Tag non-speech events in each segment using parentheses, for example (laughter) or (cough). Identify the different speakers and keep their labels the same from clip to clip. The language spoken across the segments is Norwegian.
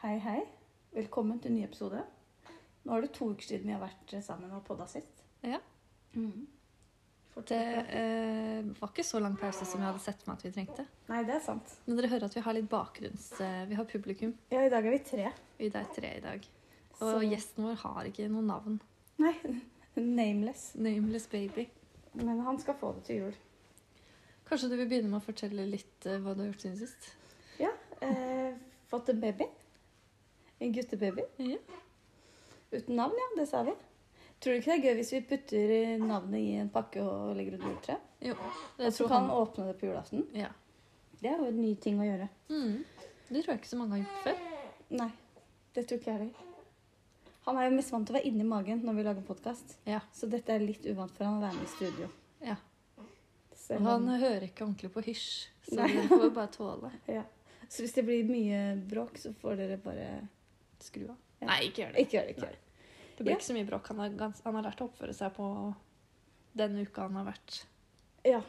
Speaker 1: hei. Velkommen til en ny episode. Nå er det to uker siden vi har vært sammen og podda sist.
Speaker 2: Ja.
Speaker 1: Mm.
Speaker 2: Det eh, var ikke så lang pause som jeg hadde sett for meg at vi trengte.
Speaker 1: Nei, det er sant.
Speaker 2: Men dere hører at vi har litt bakgrunns... Eh, vi har publikum.
Speaker 1: Ja, i dag er vi tre.
Speaker 2: Vi er tre i dag. Og
Speaker 1: Så-
Speaker 2: gjesten vår har ikke noe navn.
Speaker 1: Nei, (laughs) nameless.
Speaker 2: Nameless baby.
Speaker 1: Men han skal få det til jul.
Speaker 2: Kanskje du vil begynne med å fortelle litt eh, hva du har gjort siden sist?
Speaker 1: Eh, fått en baby. En guttebaby.
Speaker 2: Ja.
Speaker 1: Uten navn, ja. Det sa vi. Tror du ikke det er gøy hvis vi putter eh, navnet i en pakke og legger under juletreet?
Speaker 2: Jo,
Speaker 1: Og
Speaker 2: jeg
Speaker 1: så
Speaker 2: tror
Speaker 1: kan
Speaker 2: han
Speaker 1: han åpne det på julaften.
Speaker 2: Ja.
Speaker 1: Det er jo en ny ting å gjøre.
Speaker 2: Mm. Det tror jeg ikke så mange har gjort før.
Speaker 1: Nei, det tror ikke jeg heller. Han er jo mest vant til å være inni magen når vi lager podkast.
Speaker 2: Ja.
Speaker 1: Så dette er litt uvant for han å være med i studio.
Speaker 2: Ja.
Speaker 1: Selv
Speaker 2: Og han
Speaker 1: om-
Speaker 2: hører ikke ordentlig på hysj, så
Speaker 1: Nei.
Speaker 2: dere får bare tåle.
Speaker 1: ja. Så hvis det blir mye bråk, så får dere bare
Speaker 2: Skru av.
Speaker 1: Ja.
Speaker 2: Nei, ikke gjør det.
Speaker 1: Ikke gjør det. ikke gjør det.
Speaker 2: Det blir
Speaker 1: Ja.
Speaker 2: ikke så mye bråk. Han har, gans- han har lært å oppføre seg på den uka han har vært
Speaker 1: Ja.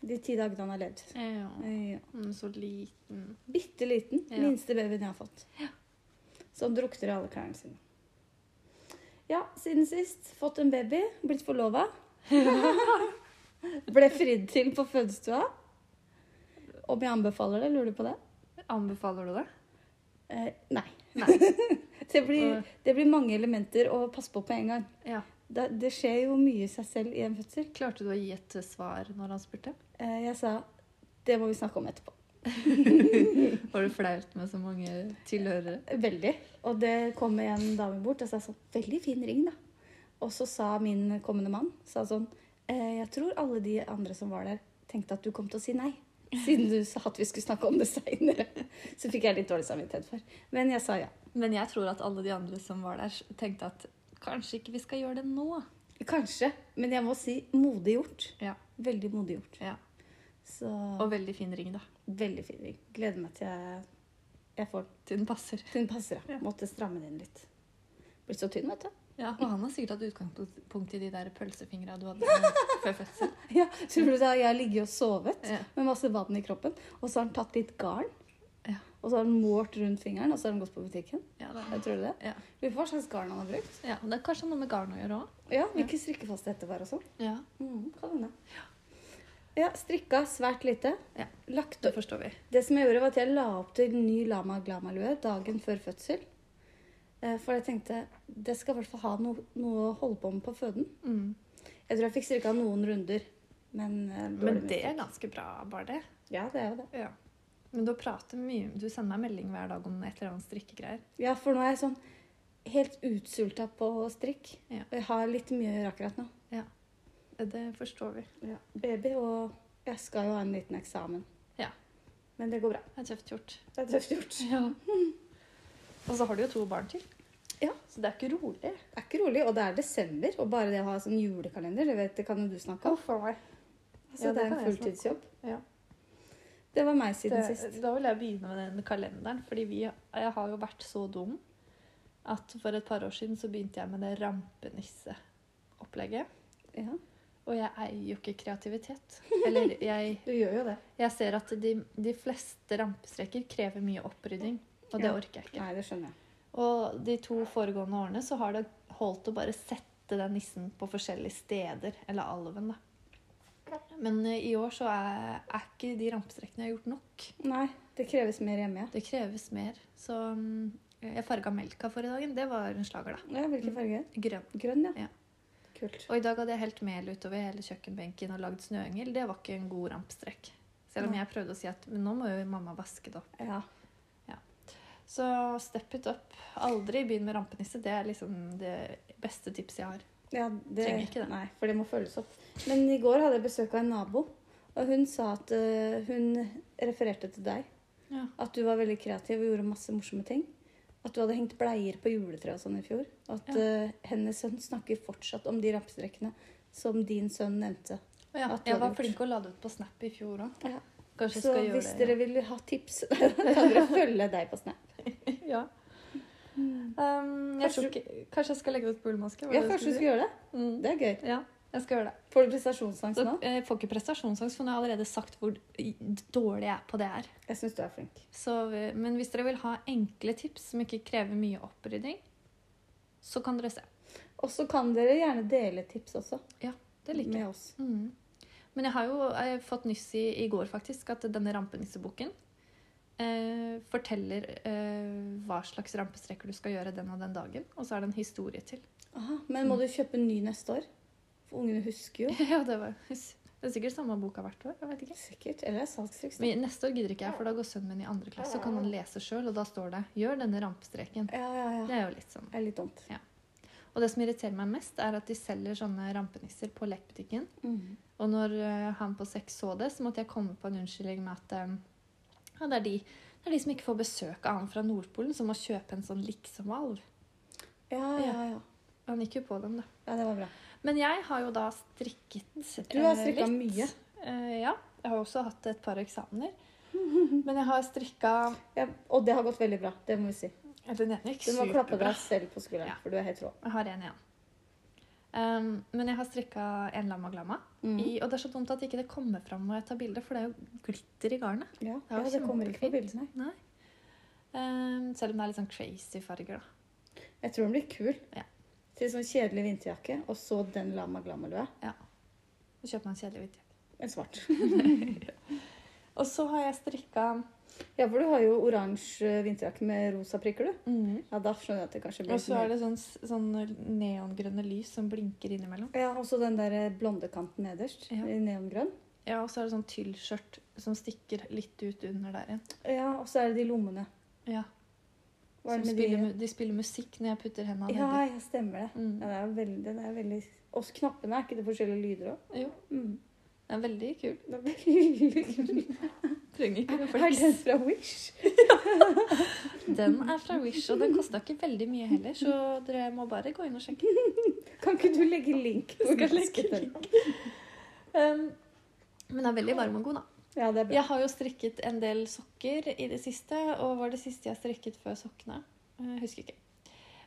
Speaker 1: De ti dagene han har levd.
Speaker 2: ja.
Speaker 1: Ja.
Speaker 2: Mm, Så liten.
Speaker 1: Bitte liten.
Speaker 2: Ja.
Speaker 1: Minste babyen jeg har fått. Som drukter i alle klærne sine. Ja, siden sist. Fått en baby. Blitt forlova. Ble fridd til på fødestua. Om jeg anbefaler det? Lurer du på det?
Speaker 2: Anbefaler du det?
Speaker 1: Eh, nei.
Speaker 2: Nei.
Speaker 1: (laughs) Det blir, det blir mange elementer å passe på på en gang.
Speaker 2: Ja.
Speaker 1: Det, det skjer jo mye i seg selv i en fødsel.
Speaker 2: Klarte du å gi et eh, svar når han spurte?
Speaker 1: Eh, jeg sa det må vi snakke om etterpå.
Speaker 2: Var det flaut med så mange tilhørere?
Speaker 1: Veldig. Og det kom en dame bort og sa sånn Veldig fin ring, da. Og så sa min kommende mann sa sånn eh, Jeg tror alle de andre som var der, tenkte at du kom til å si nei. Siden du sa at vi skulle snakke om det seinere. (laughs) Så fikk jeg litt dårlig samvittighet for. Men jeg sa ja.
Speaker 2: Men jeg tror at alle de andre som var der, tenkte at kanskje ikke vi skal gjøre det nå.
Speaker 1: Kanskje. Men jeg må si modig gjort.
Speaker 2: Ja.
Speaker 1: Veldig modig gjort.
Speaker 2: ja.
Speaker 1: Så
Speaker 2: Og veldig fin ring, da.
Speaker 1: veldig fin ring. Gleder meg til jeg, jeg får den.
Speaker 2: Til den passer.
Speaker 1: Til den passer, ja.
Speaker 2: Ja.
Speaker 1: Måtte stramme den litt. Blitt så tynn, vet du.
Speaker 2: Ja, Og han har sikkert hatt utgangspunkt i de der pølsefingra du hadde før fødsel.
Speaker 1: (laughs) Ja, tror du det? Jeg har ligget og sovet
Speaker 2: Ja.
Speaker 1: med masse vann i kroppen. Og så har han tatt litt garn.
Speaker 2: Ja.
Speaker 1: Og så har han målt rundt fingeren, og så har han gått på butikken.
Speaker 2: (laughs) Ja, det
Speaker 1: Jeg
Speaker 2: er.
Speaker 1: tror det.
Speaker 2: Ja.
Speaker 1: Vi får hva slags garn han har brukt.
Speaker 2: ja, men Det er kanskje noe med garn å gjøre òg.
Speaker 1: Ja, Hvilken strikkefasthet det var og sånn.
Speaker 2: Ja.
Speaker 1: Mm, kan hende. Ja, strikka svært lite.
Speaker 2: Ja.
Speaker 1: Lagt
Speaker 2: Det
Speaker 1: opp.
Speaker 2: forstår vi.
Speaker 1: Det som jeg gjorde, var at jeg la opp til ny Lama Glama-lue dagen før fødsel. Eh, For jeg tenkte det skal i hvert fall ha no, noe å holde på med på føden.
Speaker 2: Mm.
Speaker 1: Jeg tror jeg fikk strikka noen runder. Men, eh,
Speaker 2: Men
Speaker 1: dårlig
Speaker 2: det
Speaker 1: med
Speaker 2: er ganske bra, bare det.
Speaker 1: strikk. Ja, det er jo det.
Speaker 2: Ja. Men du prater mye Du sender meg melding hver dag om et eller annet strikkegreier.
Speaker 1: Ja, for nå er jeg sånn helt utsulta på strikk.
Speaker 2: Ja.
Speaker 1: Og jeg har litt mye å gjøre akkurat nå.
Speaker 2: Det forstår vi.
Speaker 1: Baby, og jeg skal jo ha en liten eksamen.
Speaker 2: Ja.
Speaker 1: Men det går bra.
Speaker 2: Det er tøft gjort.
Speaker 1: Det er tøft gjort.
Speaker 2: Og så har du jo to barn til.
Speaker 1: Ja.
Speaker 2: Så det er ikke rolig.
Speaker 1: Det er ikke rolig, og det er desember. Og bare det å ha sånn julekalender, det, vet, det kan jo du snakke om. Så
Speaker 2: Ja,
Speaker 1: det
Speaker 2: det
Speaker 1: er en
Speaker 2: kan jeg snakke om.
Speaker 1: fulltidsjobb.
Speaker 2: Ja.
Speaker 1: Det var meg
Speaker 2: Det,
Speaker 1: siden sist.
Speaker 2: da vil jeg begynne med den kalenderen. Fordi vi, jeg har jo vært så dum at for et par år siden så begynte jeg med det rampenisseopplegget.
Speaker 1: Ja,
Speaker 2: Og jeg eier jo ikke kreativitet.
Speaker 1: (laughs)
Speaker 2: Eller jeg
Speaker 1: du gjør jo det.
Speaker 2: Jeg ser at de, de fleste rampestreker krever mye opprydding, og det
Speaker 1: Ja.
Speaker 2: orker jeg ikke.
Speaker 1: Nei, det skjønner jeg.
Speaker 2: Og de to foregående årene så har det holdt å bare sette den nissen på forskjellige steder, eller alven, da. Men eh, i år så er, er ikke de rampestrekene jeg har gjort nok.
Speaker 1: Nei, det kreves mer hjemme, ja.
Speaker 2: Det kreves mer. Så mm, jeg farga melka forrige dagen. Det var en slager, da.
Speaker 1: ja hvilken farge?
Speaker 2: Grønn.
Speaker 1: Grønn, ja.
Speaker 2: Mm. Ja.
Speaker 1: Kult.
Speaker 2: Og i dag hadde jeg helt mel utover hele kjøkkenbenken og lagd snøengel. Det var ikke en god rampestrek. Selv om
Speaker 1: Nei.
Speaker 2: jeg prøvde å si at men nå må jo mamma vaske det opp.
Speaker 1: Ja.
Speaker 2: Så step it up. Aldri begynn med rampenisse. Det er liksom det beste tipset jeg har.
Speaker 1: Ja, det,
Speaker 2: Trenger ikke det.
Speaker 1: Nei, for det må følges opp. Men i går hadde jeg besøk av en nabo, og hun sa at eh, hun refererte til deg.
Speaker 2: Ja.
Speaker 1: At du var veldig kreativ og gjorde masse morsomme ting. At du hadde hengt bleier på juletreet og sånn i fjor. Og at
Speaker 2: Ja.
Speaker 1: eh, hennes sønn snakker fortsatt om de rampestrekkene som din sønn nevnte.
Speaker 2: Og ja,
Speaker 1: At du
Speaker 2: jeg
Speaker 1: hadde
Speaker 2: var
Speaker 1: gjort.
Speaker 2: flink å lade ut på Snap i fjor òg.
Speaker 1: Ja.
Speaker 2: Kanskje
Speaker 1: Så
Speaker 2: jeg skal gjøre
Speaker 1: hvis
Speaker 2: det.
Speaker 1: dere vil ha tips, (laughs) kan dere følge deg på Snap.
Speaker 2: Ja. (laughs) ja. Um, jeg
Speaker 1: Kanskje
Speaker 2: tror ikke, kanskje jeg skal legge ut bullmaske? var
Speaker 1: Ja,
Speaker 2: det
Speaker 1: kanskje du
Speaker 2: skulle
Speaker 1: skal gjøre det.
Speaker 2: si? Mm.
Speaker 1: Det er gøy.
Speaker 2: Ja. Jeg skal gjøre det. Sånn.
Speaker 1: Får du prestasjonsangst
Speaker 2: Så,
Speaker 1: nå?
Speaker 2: jeg får ikke prestasjonsangst, for nå har jeg allerede sagt hvor dårlig jeg er på det her.
Speaker 1: Jeg syns du er flink.
Speaker 2: Så, vi- men hvis dere vil ha enkle tips som ikke krever mye opprydding, så kan dere se.
Speaker 1: Og så kan dere gjerne dele tips også
Speaker 2: Det liker jeg.
Speaker 1: med oss.
Speaker 2: Mm. Men jeg har jo eh, fått nyss i, i går faktisk at denne rampenisseboken eh, forteller eh, hva slags rampestreker du skal gjøre den og den dagen, og så er det en historie til. (laughs)
Speaker 1: Aha, men
Speaker 2: Mm.
Speaker 1: må du kjøpe en ny neste år? For ungene husker jo.
Speaker 2: ja, det, var, det er sikkert samme boka hvert år. jeg vet ikke.
Speaker 1: Sikkert. Eller er det salgstriks?
Speaker 2: Men neste år gidder ikke jeg, for da går sønnen min i andre klasse og kan han lese sjøl, og da står det 'gjør denne rampestreken'.
Speaker 1: Ja, ja, ja.
Speaker 2: Det er jo litt sånn.
Speaker 1: Det er litt dumt.
Speaker 2: Og det som irriterer meg mest, er at de selger sånne rampenisser på lekebutikken. Og når eh, han på seks så det, så måtte jeg komme på en unnskyldning med at eh, ja, det, er de, det er de som ikke får besøk av han fra Nordpolen, som må kjøpe en sånn liksom-valv.
Speaker 1: Ja, ja, ja.
Speaker 2: Han gikk jo på dem, da.
Speaker 1: Ja, det var bra.
Speaker 2: Men jeg har jo da strikket
Speaker 1: Du har
Speaker 2: eh,
Speaker 1: strikka
Speaker 2: litt.
Speaker 1: mye.
Speaker 2: Eh, ja. Jeg har også hatt et par eksamener. Men jeg har strikka
Speaker 1: Ja, og det har gått veldig bra. Det må vi si.
Speaker 2: Den ene gikk
Speaker 1: Du må klappe
Speaker 2: superbra.
Speaker 1: deg selv på skulderen,
Speaker 2: Ja.
Speaker 1: for du er helt rå.
Speaker 2: Jeg har en igjen. Um, men jeg har strikka en lamma glamma.
Speaker 1: Mm.
Speaker 2: I, og det er så dumt at ikke det kommer fram når jeg tar bilde, for det er jo glitter i garnet.
Speaker 1: Ja,
Speaker 2: Det er
Speaker 1: ja,
Speaker 2: jo
Speaker 1: det kommer ikke på
Speaker 2: kjempefint.
Speaker 1: bildet, nei.
Speaker 2: Nei. Ehm, selv om det er litt sånn crazy farger, da.
Speaker 1: Jeg tror den blir kul.
Speaker 2: Ja.
Speaker 1: Til sånn kjedelig vinterjakke, og så den lama glamma-lua.
Speaker 2: Så kjøper man en kjedelig hvit jakke.
Speaker 1: En svart. (laughs)
Speaker 2: (laughs) Og så har jeg strikka
Speaker 1: Ja, for du har jo oransje eh, vinterjakke med rosa prikker, du.
Speaker 2: Mhm.
Speaker 1: Ja, da skjønner jeg at det kanskje blir
Speaker 2: Og så er
Speaker 1: litt
Speaker 2: det sånn, sånn neongrønne lys som blinker innimellom.
Speaker 1: mer- Ja, og så den der eh, blondekanten nederst,
Speaker 2: Ja.
Speaker 1: i neongrønn.
Speaker 2: Ja, og så er det sånn tyllskjørt som stikker litt ut under der igjen.
Speaker 1: Ja, og så er det de lommene.
Speaker 2: Ja.
Speaker 1: Hva er
Speaker 2: Som
Speaker 1: det med de-
Speaker 2: spiller, mu- de spiller musikk når jeg putter hendene
Speaker 1: Ja,
Speaker 2: nedi.
Speaker 1: ja, stemmer det. Ja,
Speaker 2: Mm.
Speaker 1: det er veldig, den er veldig... Og knappene, er ikke det forskjellige lyder òg?
Speaker 2: Jo,
Speaker 1: Mm.
Speaker 2: det er veldig kul.
Speaker 1: Det er veldig
Speaker 2: (laughs)
Speaker 1: kult.
Speaker 2: Trenger (laughs) ikke noe
Speaker 1: Er den fra Wish?
Speaker 2: Den er fra Wish, og den kosta ikke veldig mye heller, så dere må bare gå inn og sjekke.
Speaker 1: Kan ikke du legge link?
Speaker 2: Jeg skal
Speaker 1: Hvor du
Speaker 2: legge
Speaker 1: den?
Speaker 2: Um, men den er veldig varm og god, da.
Speaker 1: Ja, det er bra.
Speaker 2: Jeg har jo strikket en del sokker i det siste, og var det siste jeg strikket før sokkene? Eh, Jeg husker ikke.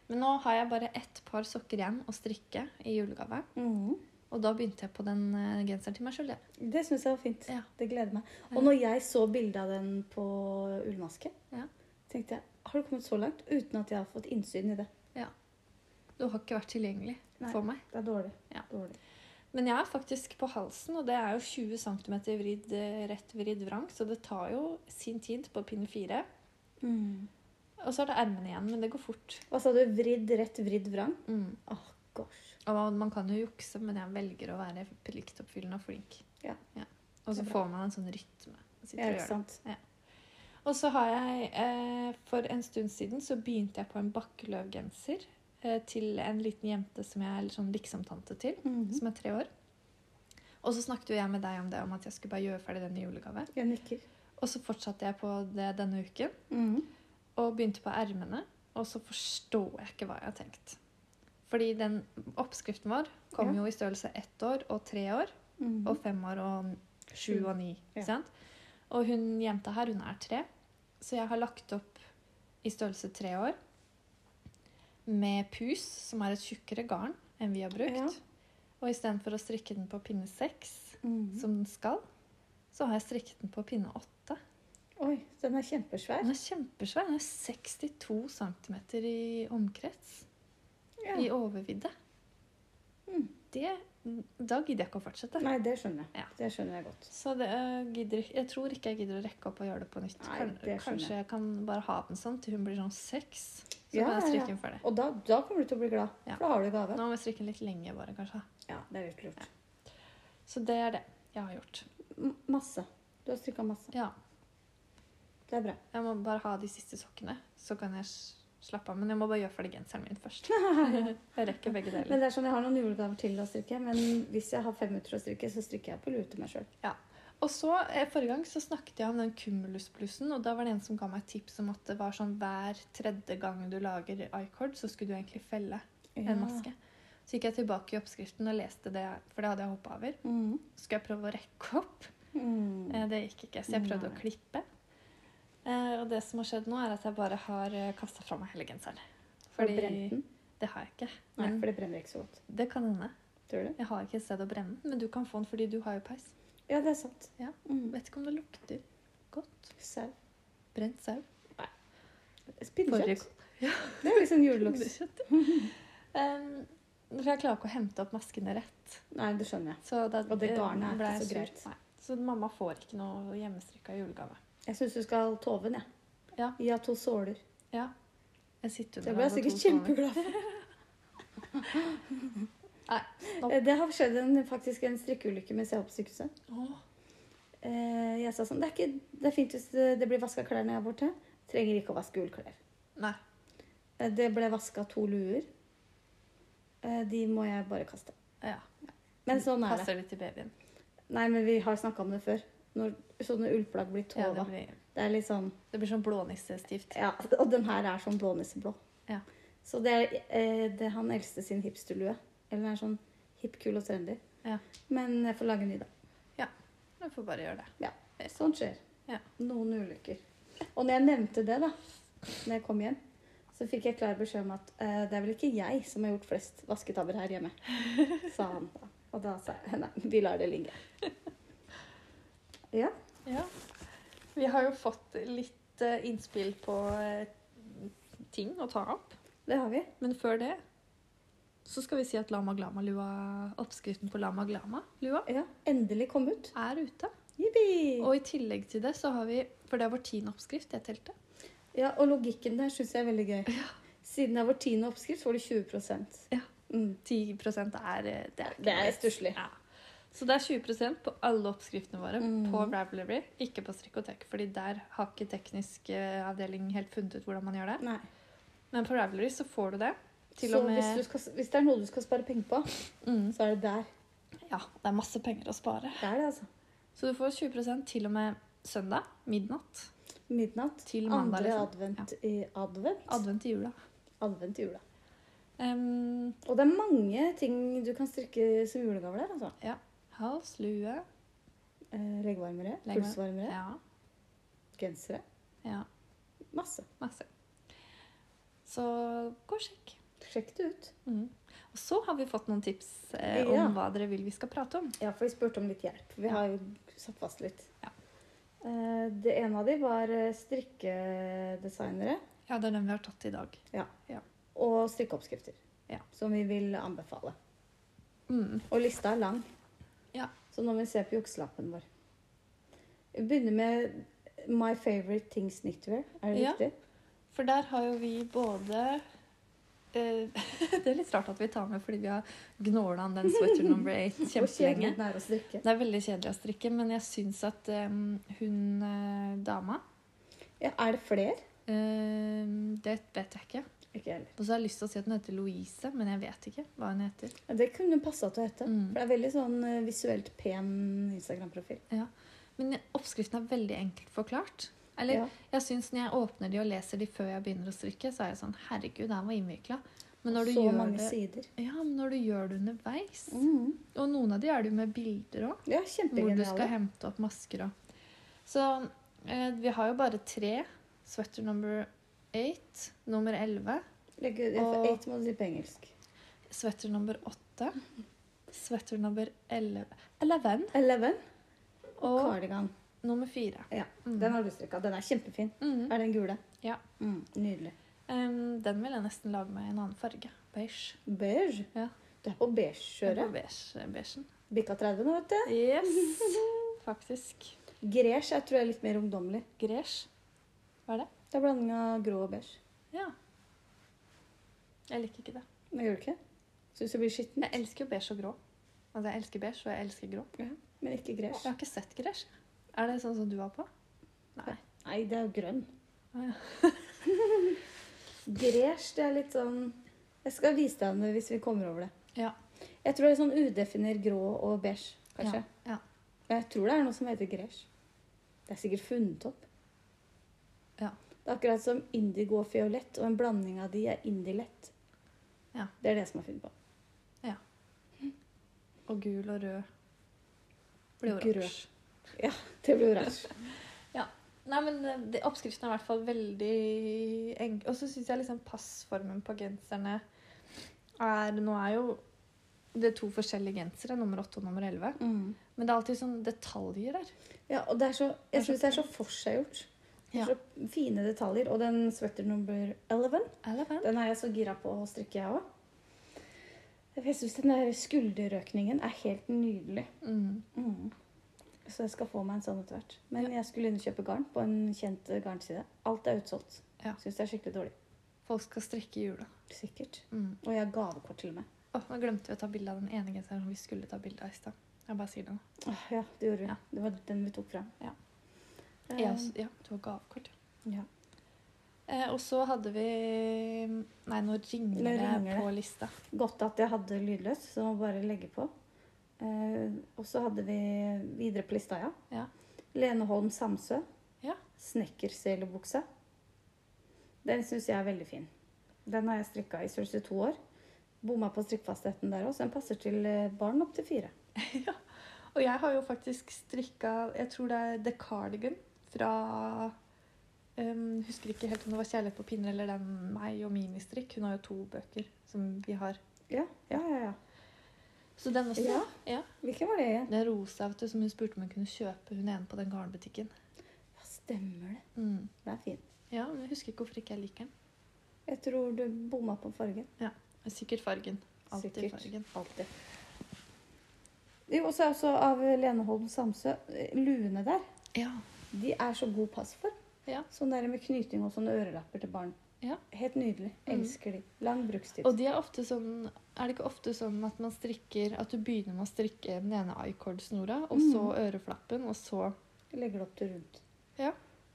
Speaker 2: Men nå har jeg bare ett par sokker igjen å strikke i julegave.
Speaker 1: Mhm.
Speaker 2: Og da begynte jeg på den eh, genseren til meg sjøl, jeg.
Speaker 1: Det syns jeg var fint.
Speaker 2: Ja.
Speaker 1: Det gleder meg.
Speaker 2: Ja.
Speaker 1: Og når jeg så bildet av den på ullmaske,
Speaker 2: Ja.
Speaker 1: tenkte jeg har du kommet så langt uten at jeg har fått innsyn i det?
Speaker 2: Du har ikke vært tilgjengelig
Speaker 1: Nei.
Speaker 2: for meg.
Speaker 1: Det er dårlig.
Speaker 2: Ja.
Speaker 1: dårlig.
Speaker 2: Men jeg er faktisk på halsen, og det er jo 20 cm vridd, eh, rett vridd vrang, så det tar jo sin tid på pinne fire. Og så er det ermene igjen, men det går fort.
Speaker 1: Mm.
Speaker 2: Mm.
Speaker 1: Hva sa du? Vridd, rett, vridd, vrang? Åh, gosh.
Speaker 2: Og man- man kan jo jukse, men jeg velger å være pliktoppfyllende og flink.
Speaker 1: Ja.
Speaker 2: Og så
Speaker 1: Det er
Speaker 2: får man en sånn rytme. Jeg sitter
Speaker 1: Ja,
Speaker 2: og
Speaker 1: ikke
Speaker 2: gjør det.
Speaker 1: sant?
Speaker 2: Og så har jeg, eh, for en stund siden, så begynte jeg på en bakkeløvgenser eh, til en liten jente som jeg er sånn liksom-tante til,
Speaker 1: Mm. Mhm.
Speaker 2: som er tre år. Og så snakket jo jeg med deg om det, om at jeg skulle bare gjøre ferdig den i julegave.
Speaker 1: Jeg nikker.
Speaker 2: Og så fortsatte jeg på det denne uken. og begynte på ermene, og så forstår jeg ikke hva jeg har tenkt. Fordi den oppskriften vår kom
Speaker 1: Ja.
Speaker 2: jo i størrelse ett år og tre år
Speaker 1: Mhm.
Speaker 2: og fem år og sju og ni.
Speaker 1: Ja.
Speaker 2: ikke Sant? Og hun jenta her, hun er tre, så jeg har lagt opp i størrelse tre år med pus, som er et tjukkere garn enn vi har brukt.
Speaker 1: Ja.
Speaker 2: Og istedenfor å strikke den på pinne seks,
Speaker 1: Mhm.
Speaker 2: som den skal, så har jeg strikket den på pinne åtte.
Speaker 1: Oi, den er kjempesvær.
Speaker 2: Den er kjempesvær. Den er 62 cm i omkrets.
Speaker 1: Ja.
Speaker 2: I overvidde.
Speaker 1: Mm.
Speaker 2: Det, da gidder jeg ikke å fortsette.
Speaker 1: Nei, det skjønner jeg.
Speaker 2: Ja.
Speaker 1: Det skjønner jeg godt.
Speaker 2: Så det, øh, gidder, ikke- jeg tror ikke jeg gidder å rekke opp og gjøre det på nytt.
Speaker 1: Nei,
Speaker 2: Kan-
Speaker 1: det skjønner
Speaker 2: Kanskje jeg kan bare ha den sånn til hun blir sånn seks. Så
Speaker 1: Ja,
Speaker 2: kan jeg
Speaker 1: ja, ja.
Speaker 2: strikke den ferdig.
Speaker 1: Og da, da kommer du til å bli glad,
Speaker 2: Ja.
Speaker 1: for da har du gave.
Speaker 2: Nå må jeg strikke den litt lenge, bare, kanskje.
Speaker 1: Ja, det er virkelig lurt.
Speaker 2: Så det er det jeg har gjort.
Speaker 1: M- Masse. Du har strikka masse.
Speaker 2: Ja,
Speaker 1: Det er bra.
Speaker 2: Jeg må bare ha de siste sokkene, så kan jeg s- slappe av. Men jeg må bare gjøre ferdig genseren min
Speaker 1: (laughs)
Speaker 2: først. Jeg rekker begge deler.
Speaker 1: Men det er sånn, Jeg har noen julegaver til å strikke, men hvis jeg har fem minutter å strikke, så strikker jeg på lue til meg sjøl.
Speaker 2: Og så, eh, Forrige gang så snakket jeg om den cumulusblussen, og da var det en som ga meg et tips om at det var sånn hver tredje gang du lager i-cord, så skulle du egentlig felle en maske. Så gikk jeg tilbake i oppskriften og leste det, for det hadde jeg hoppa over.
Speaker 1: Mm.
Speaker 2: Så skulle jeg prøve å rekke opp.
Speaker 1: Mm.
Speaker 2: Eh, Det gikk ikke, så jeg prøvde å
Speaker 1: Nei.
Speaker 2: klippe. Eh, Og det som har skjedd nå, er at jeg bare har kasta fra meg hele genseren.
Speaker 1: Har du brent den?
Speaker 2: Det har jeg ikke.
Speaker 1: Nei,
Speaker 2: Men
Speaker 1: for det brenner ikke så godt.
Speaker 2: det kan hende.
Speaker 1: Tror du?
Speaker 2: Jeg har ikke et sted å brenne den, men du kan få den fordi du har jo peis.
Speaker 1: Ja, det er sant.
Speaker 2: Ja.
Speaker 1: Mm.
Speaker 2: Vet ikke om det lukter godt.
Speaker 1: Sau.
Speaker 2: Brent sau.
Speaker 1: Spinnekjøtt. Det er liksom juleluksus.
Speaker 2: Lukskjøtt. (laughs) Um, for jeg klarer ikke å hente opp maskene rett.
Speaker 1: Nei, det skjønner jeg.
Speaker 2: Så da,
Speaker 1: Og det garnet er
Speaker 2: ble
Speaker 1: ikke
Speaker 2: jeg
Speaker 1: så
Speaker 2: sur.
Speaker 1: greit.
Speaker 2: Nei. Så mamma får ikke noe hjemmestrikka julegave.
Speaker 1: Jeg syns du skal tove den, jeg.
Speaker 2: Ja.
Speaker 1: Gi henne to såler.
Speaker 2: Ja. Jeg sitter
Speaker 1: Det ble
Speaker 2: under
Speaker 1: jeg
Speaker 2: den på
Speaker 1: sikkert
Speaker 2: to sånne.
Speaker 1: kjempeglad for.
Speaker 2: Nå.
Speaker 1: Eh, Det har skjedd en, faktisk en strikkeulykke med CH-sykehuset.
Speaker 2: Åh,
Speaker 1: Eh, jeg sa sånn det er, ikke, det er fint hvis det det blir vaska klær når jeg er borte. Trenger ikke å vaske ullklær.
Speaker 2: Nei.
Speaker 1: Eh, det ble vaska to luer. Eh, de må jeg bare kaste.
Speaker 2: Ja.
Speaker 1: Men sånn er det.
Speaker 2: Passer det til babyen?
Speaker 1: Nei, men vi har snakka om det før. Når sånne ullplagg blir
Speaker 2: Ja,
Speaker 1: tova.
Speaker 2: det,
Speaker 1: det,
Speaker 2: blir,
Speaker 1: er litt sånn
Speaker 2: det blir sånn blånissestift.
Speaker 1: Ja, og den her er sånn blånisseblå.
Speaker 2: Ja.
Speaker 1: Så det er, eh, det er han eldste sin hipsterlue. Eller den er sånn hipp, kul og trendy.
Speaker 2: Ja.
Speaker 1: Men jeg får lage en ny, da.
Speaker 2: Du får bare gjøre det.
Speaker 1: Sånt skjer.
Speaker 2: Ja.
Speaker 1: Noen ulykker. Og når jeg nevnte det, da, når jeg kom hjem, så fikk jeg klar beskjed om at eh, det er vel ikke jeg som har gjort flest vasketabber her
Speaker 2: (laughs)
Speaker 1: hjemme, sa han da. Og da sa jeg (laughs) nei, vi lar det ligge. Ja.
Speaker 2: Ja. Vi har jo fått litt eh, innspill på eh, ting å ta opp.
Speaker 1: Det har vi.
Speaker 2: Men før det så skal vi si at Lama Glama-lua, oppskriften på Lama Glama-lua
Speaker 1: Ja, Endelig kom ut.
Speaker 2: er ute.
Speaker 1: Jippi!
Speaker 2: Og i tillegg til det så har vi For det er vår tiende oppskrift, det teltet.
Speaker 1: Ja, og logikken der syns jeg er veldig gøy. Siden det er vår tiende oppskrift, får du 20
Speaker 2: Ja.
Speaker 1: Mm.
Speaker 2: 10 er eh, Det er, ikke
Speaker 1: Det er
Speaker 2: noe.
Speaker 1: stusslig.
Speaker 2: Ja. Så det er 20 på alle oppskriftene våre
Speaker 1: Mm.
Speaker 2: på Ravelry, ikke på Strikkotek. fordi der har ikke teknisk eh, avdeling helt funnet ut hvordan man gjør det.
Speaker 1: Nei.
Speaker 2: Men på Ravelry så får du det. Til
Speaker 1: så
Speaker 2: og med
Speaker 1: hvis, du skal, hvis det er noe du skal spare penger på,
Speaker 2: mm,
Speaker 1: så er det der.
Speaker 2: Ja, det er masse penger å spare.
Speaker 1: Det er det, altså.
Speaker 2: Så du får 20 til og med søndag midnatt.
Speaker 1: Midnatt.
Speaker 2: Til mandag,
Speaker 1: Andre
Speaker 2: liksom.
Speaker 1: advent i advent.
Speaker 2: Advent i jula.
Speaker 1: advent i jula.
Speaker 2: Um,
Speaker 1: Og det er mange ting du kan strikke som julegave der, altså.
Speaker 2: hals, lue
Speaker 1: Eh, Leggvarmere,
Speaker 2: Leggvarm-
Speaker 1: pulsvarmere,
Speaker 2: Ja.
Speaker 1: gensere.
Speaker 2: ja
Speaker 1: Masse.
Speaker 2: masse. Så gå og sjekk.
Speaker 1: Sjekk det ut.
Speaker 2: Mm. Og så har vi fått noen tips eh, om
Speaker 1: Ja.
Speaker 2: hva dere vil vi skal prate om.
Speaker 1: Ja, for vi spurte om litt hjelp. Vi
Speaker 2: Ja.
Speaker 1: har jo satt fast litt.
Speaker 2: Ja.
Speaker 1: Eh, Det ene av de var eh, strikkedesignere
Speaker 2: Ja, det er den vi har tatt i dag.
Speaker 1: og strikkeoppskrifter.
Speaker 2: Ja.
Speaker 1: Som vi vil anbefale.
Speaker 2: Mm.
Speaker 1: Og lista er lang.
Speaker 2: Ja.
Speaker 1: Så nå må vi se på jukselappen vår. Vi begynner med My favorite things knitwear. Er det
Speaker 2: Ja.
Speaker 1: riktig?
Speaker 2: For der har jo vi både eh, (laughs) Det er litt rart at vi tar med fordi vi har gnåla om den sweater (laughs) number eight
Speaker 1: Hvor
Speaker 2: kjempelenge.
Speaker 1: kjedelig den er å strikke.
Speaker 2: Det er veldig kjedelig å strikke, men jeg syns at eh, hun eh, dama
Speaker 1: Ja, er det flere?
Speaker 2: eh, Det vet jeg ikke.
Speaker 1: Ikke jeg heller.
Speaker 2: Og så har jeg lyst til å si at hun heter Louise, men jeg vet ikke hva hun heter.
Speaker 1: Ja, Det kunne passa til å hete.
Speaker 2: Mm.
Speaker 1: For det er veldig sånn eh, visuelt pen Instagram-profil.
Speaker 2: Men oppskriften er veldig enkelt forklart. Eller
Speaker 1: Ja.
Speaker 2: Jeg synes Når jeg åpner de og leser de før jeg begynner å strikke, så er jeg sånn Herregud, det her var innvikla. Men når du,
Speaker 1: så
Speaker 2: gjør
Speaker 1: mange
Speaker 2: det,
Speaker 1: sider.
Speaker 2: ja, men når du gjør det underveis
Speaker 1: Mm.
Speaker 2: Og noen av de er det jo med bilder òg,
Speaker 1: Ja,
Speaker 2: hvor du skal
Speaker 1: kjempegeniale.
Speaker 2: hente opp masker og Så eh, vi har jo bare tre. Sweater number eight, nummer elleve,
Speaker 1: Legg ut for
Speaker 2: Og-
Speaker 1: eight må du si på engelsk.
Speaker 2: sweater number åtte, sweater number elleve Eleven
Speaker 1: Eleven og
Speaker 2: og
Speaker 1: cardigan.
Speaker 2: nummer fire.
Speaker 1: Ja,
Speaker 2: Mm.
Speaker 1: Den har du strikka. Den er kjempefin.
Speaker 2: Mm.
Speaker 1: Er den gule?
Speaker 2: Ja.
Speaker 1: Mm, nydelig.
Speaker 2: Em, den vil jeg nesten lage meg i en annen farge. Beige.
Speaker 1: Beige.
Speaker 2: Ja.
Speaker 1: Du er på beige-kjøret.
Speaker 2: På beige, beigen.
Speaker 1: Bikka 30 nå, vet du.
Speaker 2: Yes, (laughs) faktisk.
Speaker 1: Gresj jeg tror jeg er litt mer ungdommelig.
Speaker 2: Gresj. Hva er det?
Speaker 1: Det er blanding av grå og beige.
Speaker 2: Ja. Jeg liker ikke det.
Speaker 1: Men gjør du ikke? Syns du blir skitten?
Speaker 2: Jeg elsker jo beige og grå. Altså, jeg elsker beige, og jeg elsker grå.
Speaker 1: Men ikke
Speaker 2: Jeg
Speaker 1: gresj.
Speaker 2: har ikke sett gresj. Er det sånn som du har på? Nei.
Speaker 1: Nei, det er jo grønn.
Speaker 2: Ah, ja.
Speaker 1: (laughs) Gresj, det er litt sånn Jeg skal vise deg det hvis vi kommer over det.
Speaker 2: Ja.
Speaker 1: Jeg tror det er sånn udefiner grå og beige, kanskje.
Speaker 2: Ja, ja.
Speaker 1: Men Jeg tror det er noe som heter gresj. Det er sikkert funnet opp.
Speaker 2: Ja.
Speaker 1: Det er akkurat som indigo og fiolett, og en blanding av de er indilett.
Speaker 2: Ja.
Speaker 1: Det er det som er funnet på.
Speaker 2: Og gul og rød. Blir
Speaker 1: Grø.
Speaker 2: oransje.
Speaker 1: Det blir
Speaker 2: (laughs)
Speaker 1: oransje.
Speaker 2: Nei, men eh, det, oppskriften er i hvert fall veldig enkel. Og så syns jeg liksom passformen på genserne er Nå er jo det er to forskjellige gensere, nummer 8 og nummer 11.
Speaker 1: Mm.
Speaker 2: Men det er alltid sånn detaljer der.
Speaker 1: Ja, og det er så, jeg
Speaker 2: Det er så
Speaker 1: syns det er så forseggjort. Det er
Speaker 2: Ja.
Speaker 1: Så fine detaljer. Og den sweater number 11,
Speaker 2: Eleven.
Speaker 1: den er jeg så gira på å strikke, jeg òg. Jeg syns den der skulderøkningen er helt nydelig.
Speaker 2: Mm.
Speaker 1: Mm. Så jeg skal få meg en sånn etter hvert. Men jeg skulle inn og kjøpe garn på en kjent eh, garnside. Alt er utsolgt.
Speaker 2: Ja.
Speaker 1: Syns det er skikkelig dårlig.
Speaker 2: Folk skal strikke i jula.
Speaker 1: Sikkert.
Speaker 2: Mm.
Speaker 1: Og jeg har gavekort til og med.
Speaker 2: Åh, nå glemte vi å ta bilde av den ene genseren som vi skulle ta bilde av i stad. Jeg bare sier det nå.
Speaker 1: Åh, ja, det gjorde vi.
Speaker 2: Ja.
Speaker 1: Det var den vi tok fram.
Speaker 2: Ja.
Speaker 1: Eh,
Speaker 2: Jeg også- Ja, du har gavekort. ja.
Speaker 1: ja.
Speaker 2: Eh, og så hadde vi Nei, nå ringer,
Speaker 1: Nå ringer
Speaker 2: det
Speaker 1: det.
Speaker 2: på lista.
Speaker 1: Godt at jeg hadde lydløs, så må jeg bare legge på. Eh, og så hadde vi videre på lista, ja.
Speaker 2: Ja.
Speaker 1: Lene Holm Samsø.
Speaker 2: Ja.
Speaker 1: Snekkerselebuksa. Den syns jeg er veldig fin. Den har jeg strikka i størrelse to år. Bomma på strikkfastheten der òg, så den passer til eh, barn opp til fire.
Speaker 2: Og jeg har jo faktisk strikka Jeg tror det er The Cardigan fra um, Husker ikke helt om det var 'Kjærlighet på pinner' eller den meg og ministrikk. Hun har jo to bøker som vi har.
Speaker 1: Ja, ja, ja. ja.
Speaker 2: Så den også.
Speaker 1: Ja.
Speaker 2: ja.
Speaker 1: Hvilken var det igjen?
Speaker 2: Den rosa vet du, som hun spurte om hun kunne kjøpe, hun ene på den garnbutikken.
Speaker 1: Ja, stemmer det.
Speaker 2: Mm.
Speaker 1: Den er fin.
Speaker 2: Ja, men jeg husker ikke hvorfor ikke jeg liker den.
Speaker 1: Jeg tror du bomma på fargen.
Speaker 2: Men Sikkert fargen. Alltid
Speaker 1: Sikkert.
Speaker 2: fargen.
Speaker 1: Alltid. Jo, og så er også av Lene Holm Samsø. eh, Luene der,
Speaker 2: Ja.
Speaker 1: de er så god passform.
Speaker 2: Ja.
Speaker 1: Sånn der med knyting og sånne ørelapper til barn.
Speaker 2: Ja.
Speaker 1: Helt nydelig.
Speaker 2: Mm.
Speaker 1: Elsker de. Lang brukstid.
Speaker 2: Og de er ofte sånn Er det ikke ofte sånn at man strikker At du begynner med å strikke den ene i-cord-snora, og så øreflappen, og så
Speaker 1: Legger det opp til rundt.
Speaker 2: Ja.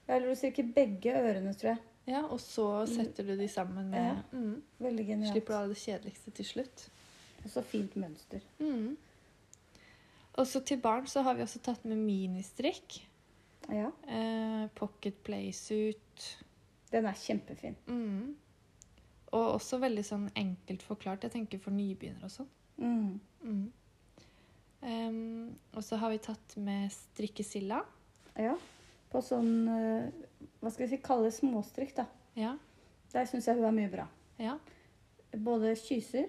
Speaker 1: Eller du strikker begge ørene, tror jeg.
Speaker 2: Ja, og så setter du de sammen med mm.
Speaker 1: Veldig genialt.
Speaker 2: Slipper du av det kjedeligste til slutt.
Speaker 1: Og så fint mønster.
Speaker 2: Mm. Og så til barn så har vi også tatt med ministrikk.
Speaker 1: Ja,
Speaker 2: Eh, pocket playsuit.
Speaker 1: den er kjempefin.
Speaker 2: Mm. Og også veldig sånn enkelt forklart. Jeg tenker for nybegynnere og sånn.
Speaker 1: Mm.
Speaker 2: Mm. Em, og så har vi tatt med strikkesilla.
Speaker 1: Ja. På sånn eh, Hva skal vi si, kalle småstrikk, da.
Speaker 2: Ja.
Speaker 1: Der syns jeg hun er mye bra.
Speaker 2: ja.
Speaker 1: Både kyser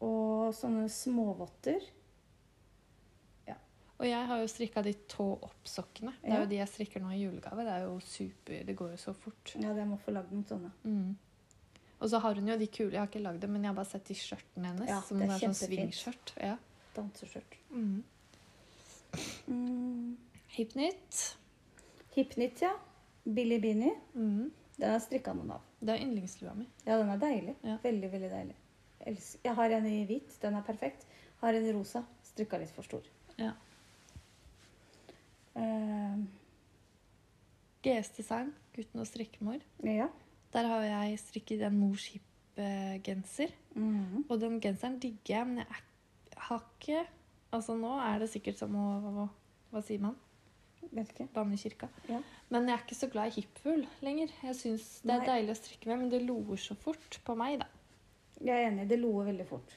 Speaker 1: og sånne småvotter.
Speaker 2: Og jeg har jo strikka de tå-opp-sokkene. Det
Speaker 1: Ja.
Speaker 2: er jo de jeg strikker nå i julegave. Det er jo super, det går jo så fort.
Speaker 1: Ja, jeg må få lagd noen sånne.
Speaker 2: Mm. Og så har hun jo de kule, jeg har ikke lagd dem, men jeg har bare sett de skjørtene hennes.
Speaker 1: Ja,
Speaker 2: som
Speaker 1: det
Speaker 2: det
Speaker 1: er
Speaker 2: er sånn
Speaker 1: kjempefint.
Speaker 2: svingskjørt. Ja.
Speaker 1: Danseskjørt.
Speaker 2: Mm.
Speaker 1: Mm.
Speaker 2: Hipnytt.
Speaker 1: Hipnytt, ja. Billy Beanie.
Speaker 2: Mm.
Speaker 1: Den har jeg strikka noen av.
Speaker 2: Det er yndlingslua mi.
Speaker 1: Ja, den er deilig.
Speaker 2: Ja.
Speaker 1: Veldig, veldig deilig. Els- Jeg har en i hvit. Den er perfekt. Har en i rosa. Strikka litt for stor.
Speaker 2: Ja.
Speaker 1: Eh,
Speaker 2: GS Design, gutten og strikkemor.
Speaker 1: ja.
Speaker 2: Der har jeg strikket en mors eh, hip-genser.
Speaker 1: Mhm.
Speaker 2: Og den genseren digger jeg, men jeg er, har ikke Altså nå er det sikkert som å Hva, hva sier man?
Speaker 1: Vet ikke.
Speaker 2: Banne i kirka.
Speaker 1: Ja.
Speaker 2: Men jeg er ikke så glad i hipfugl lenger. Jeg syns det er
Speaker 1: Nei.
Speaker 2: deilig å strikke med, men det loer så fort på meg, da.
Speaker 1: Jeg er enig. Det loer veldig fort.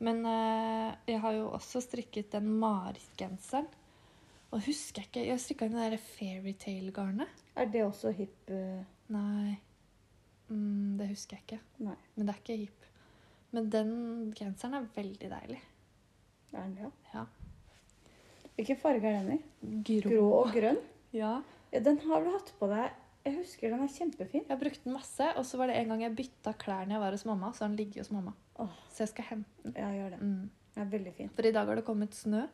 Speaker 2: Men eh, jeg har jo også strikket den marerittgenseren. Og husker jeg ikke Jeg strikka den der fairytale-garnet.
Speaker 1: Er det også hipp eh,
Speaker 2: Nei. Mm, det husker jeg ikke.
Speaker 1: Nei.
Speaker 2: Men det er ikke hip. Men den genseren er veldig deilig.
Speaker 1: Er den det?
Speaker 2: Ja.
Speaker 1: Hvilken farge er den i?
Speaker 2: Grå.
Speaker 1: Grå og grønn?
Speaker 2: Ja.
Speaker 1: Ja, den har du hatt på deg. Jeg husker den er kjempefin.
Speaker 2: Jeg brukte den masse, og så var det en gang jeg bytta klær når jeg var hos mamma. Så har den ligget hos mamma.
Speaker 1: Åh,
Speaker 2: Så jeg skal hente
Speaker 1: ja, gjør det.
Speaker 2: den. Mm.
Speaker 1: Den er veldig fin.
Speaker 2: For i dag har det kommet snø.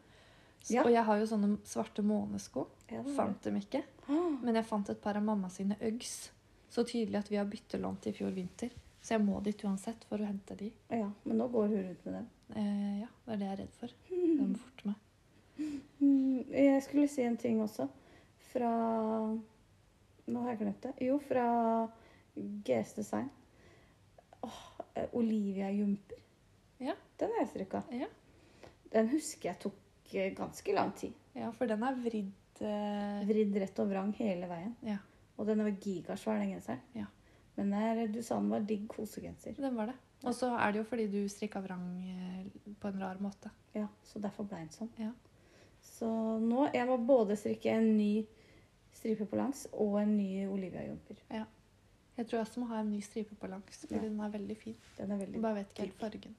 Speaker 2: S-
Speaker 1: Ja.
Speaker 2: Og jeg har jo sånne svarte månesko.
Speaker 1: Ja, den er
Speaker 2: Fant dem ikke.
Speaker 1: det. Ah,
Speaker 2: Men jeg fant et par av mamma sine Uggs. Så tydelig at vi har byttelånt i fjor vinter. Så jeg må dit uansett for å hente de.
Speaker 1: ja, men nå går hun rundt med den.
Speaker 2: Eh, ja, det er det jeg er redd for. Jeg må forte meg.
Speaker 1: Mm, Jeg skulle si en ting også. Fra Nå har jeg glemt det. Jo, fra GS Design. Åh, eh, Olivia-jumper.
Speaker 2: Ja.
Speaker 1: Den har jeg strikka.
Speaker 2: Ja.
Speaker 1: Den husker jeg tok eh, ganske lang tid.
Speaker 2: Ja, for den er vridd eh,
Speaker 1: Vridd rett og vrang hele veien.
Speaker 2: Ja.
Speaker 1: Og den var gigasvær, den genseren.
Speaker 2: Ja.
Speaker 1: Men der, du sa den var digg kosegenser.
Speaker 2: Den var det. Og så er det jo fordi du strikka vrang eh, på en rar måte.
Speaker 1: Ja, så derfor ble den sånn.
Speaker 2: Ja.
Speaker 1: Så nå jeg må både strikke en ny stripe på langs og en ny Olivia-jumper.
Speaker 2: Jeg tror jeg også må ha en ny stripe på langs, for
Speaker 1: Ja.
Speaker 2: den er veldig fin.
Speaker 1: Den er
Speaker 2: Jeg
Speaker 1: veldig
Speaker 2: bare vet ikke helt fargen.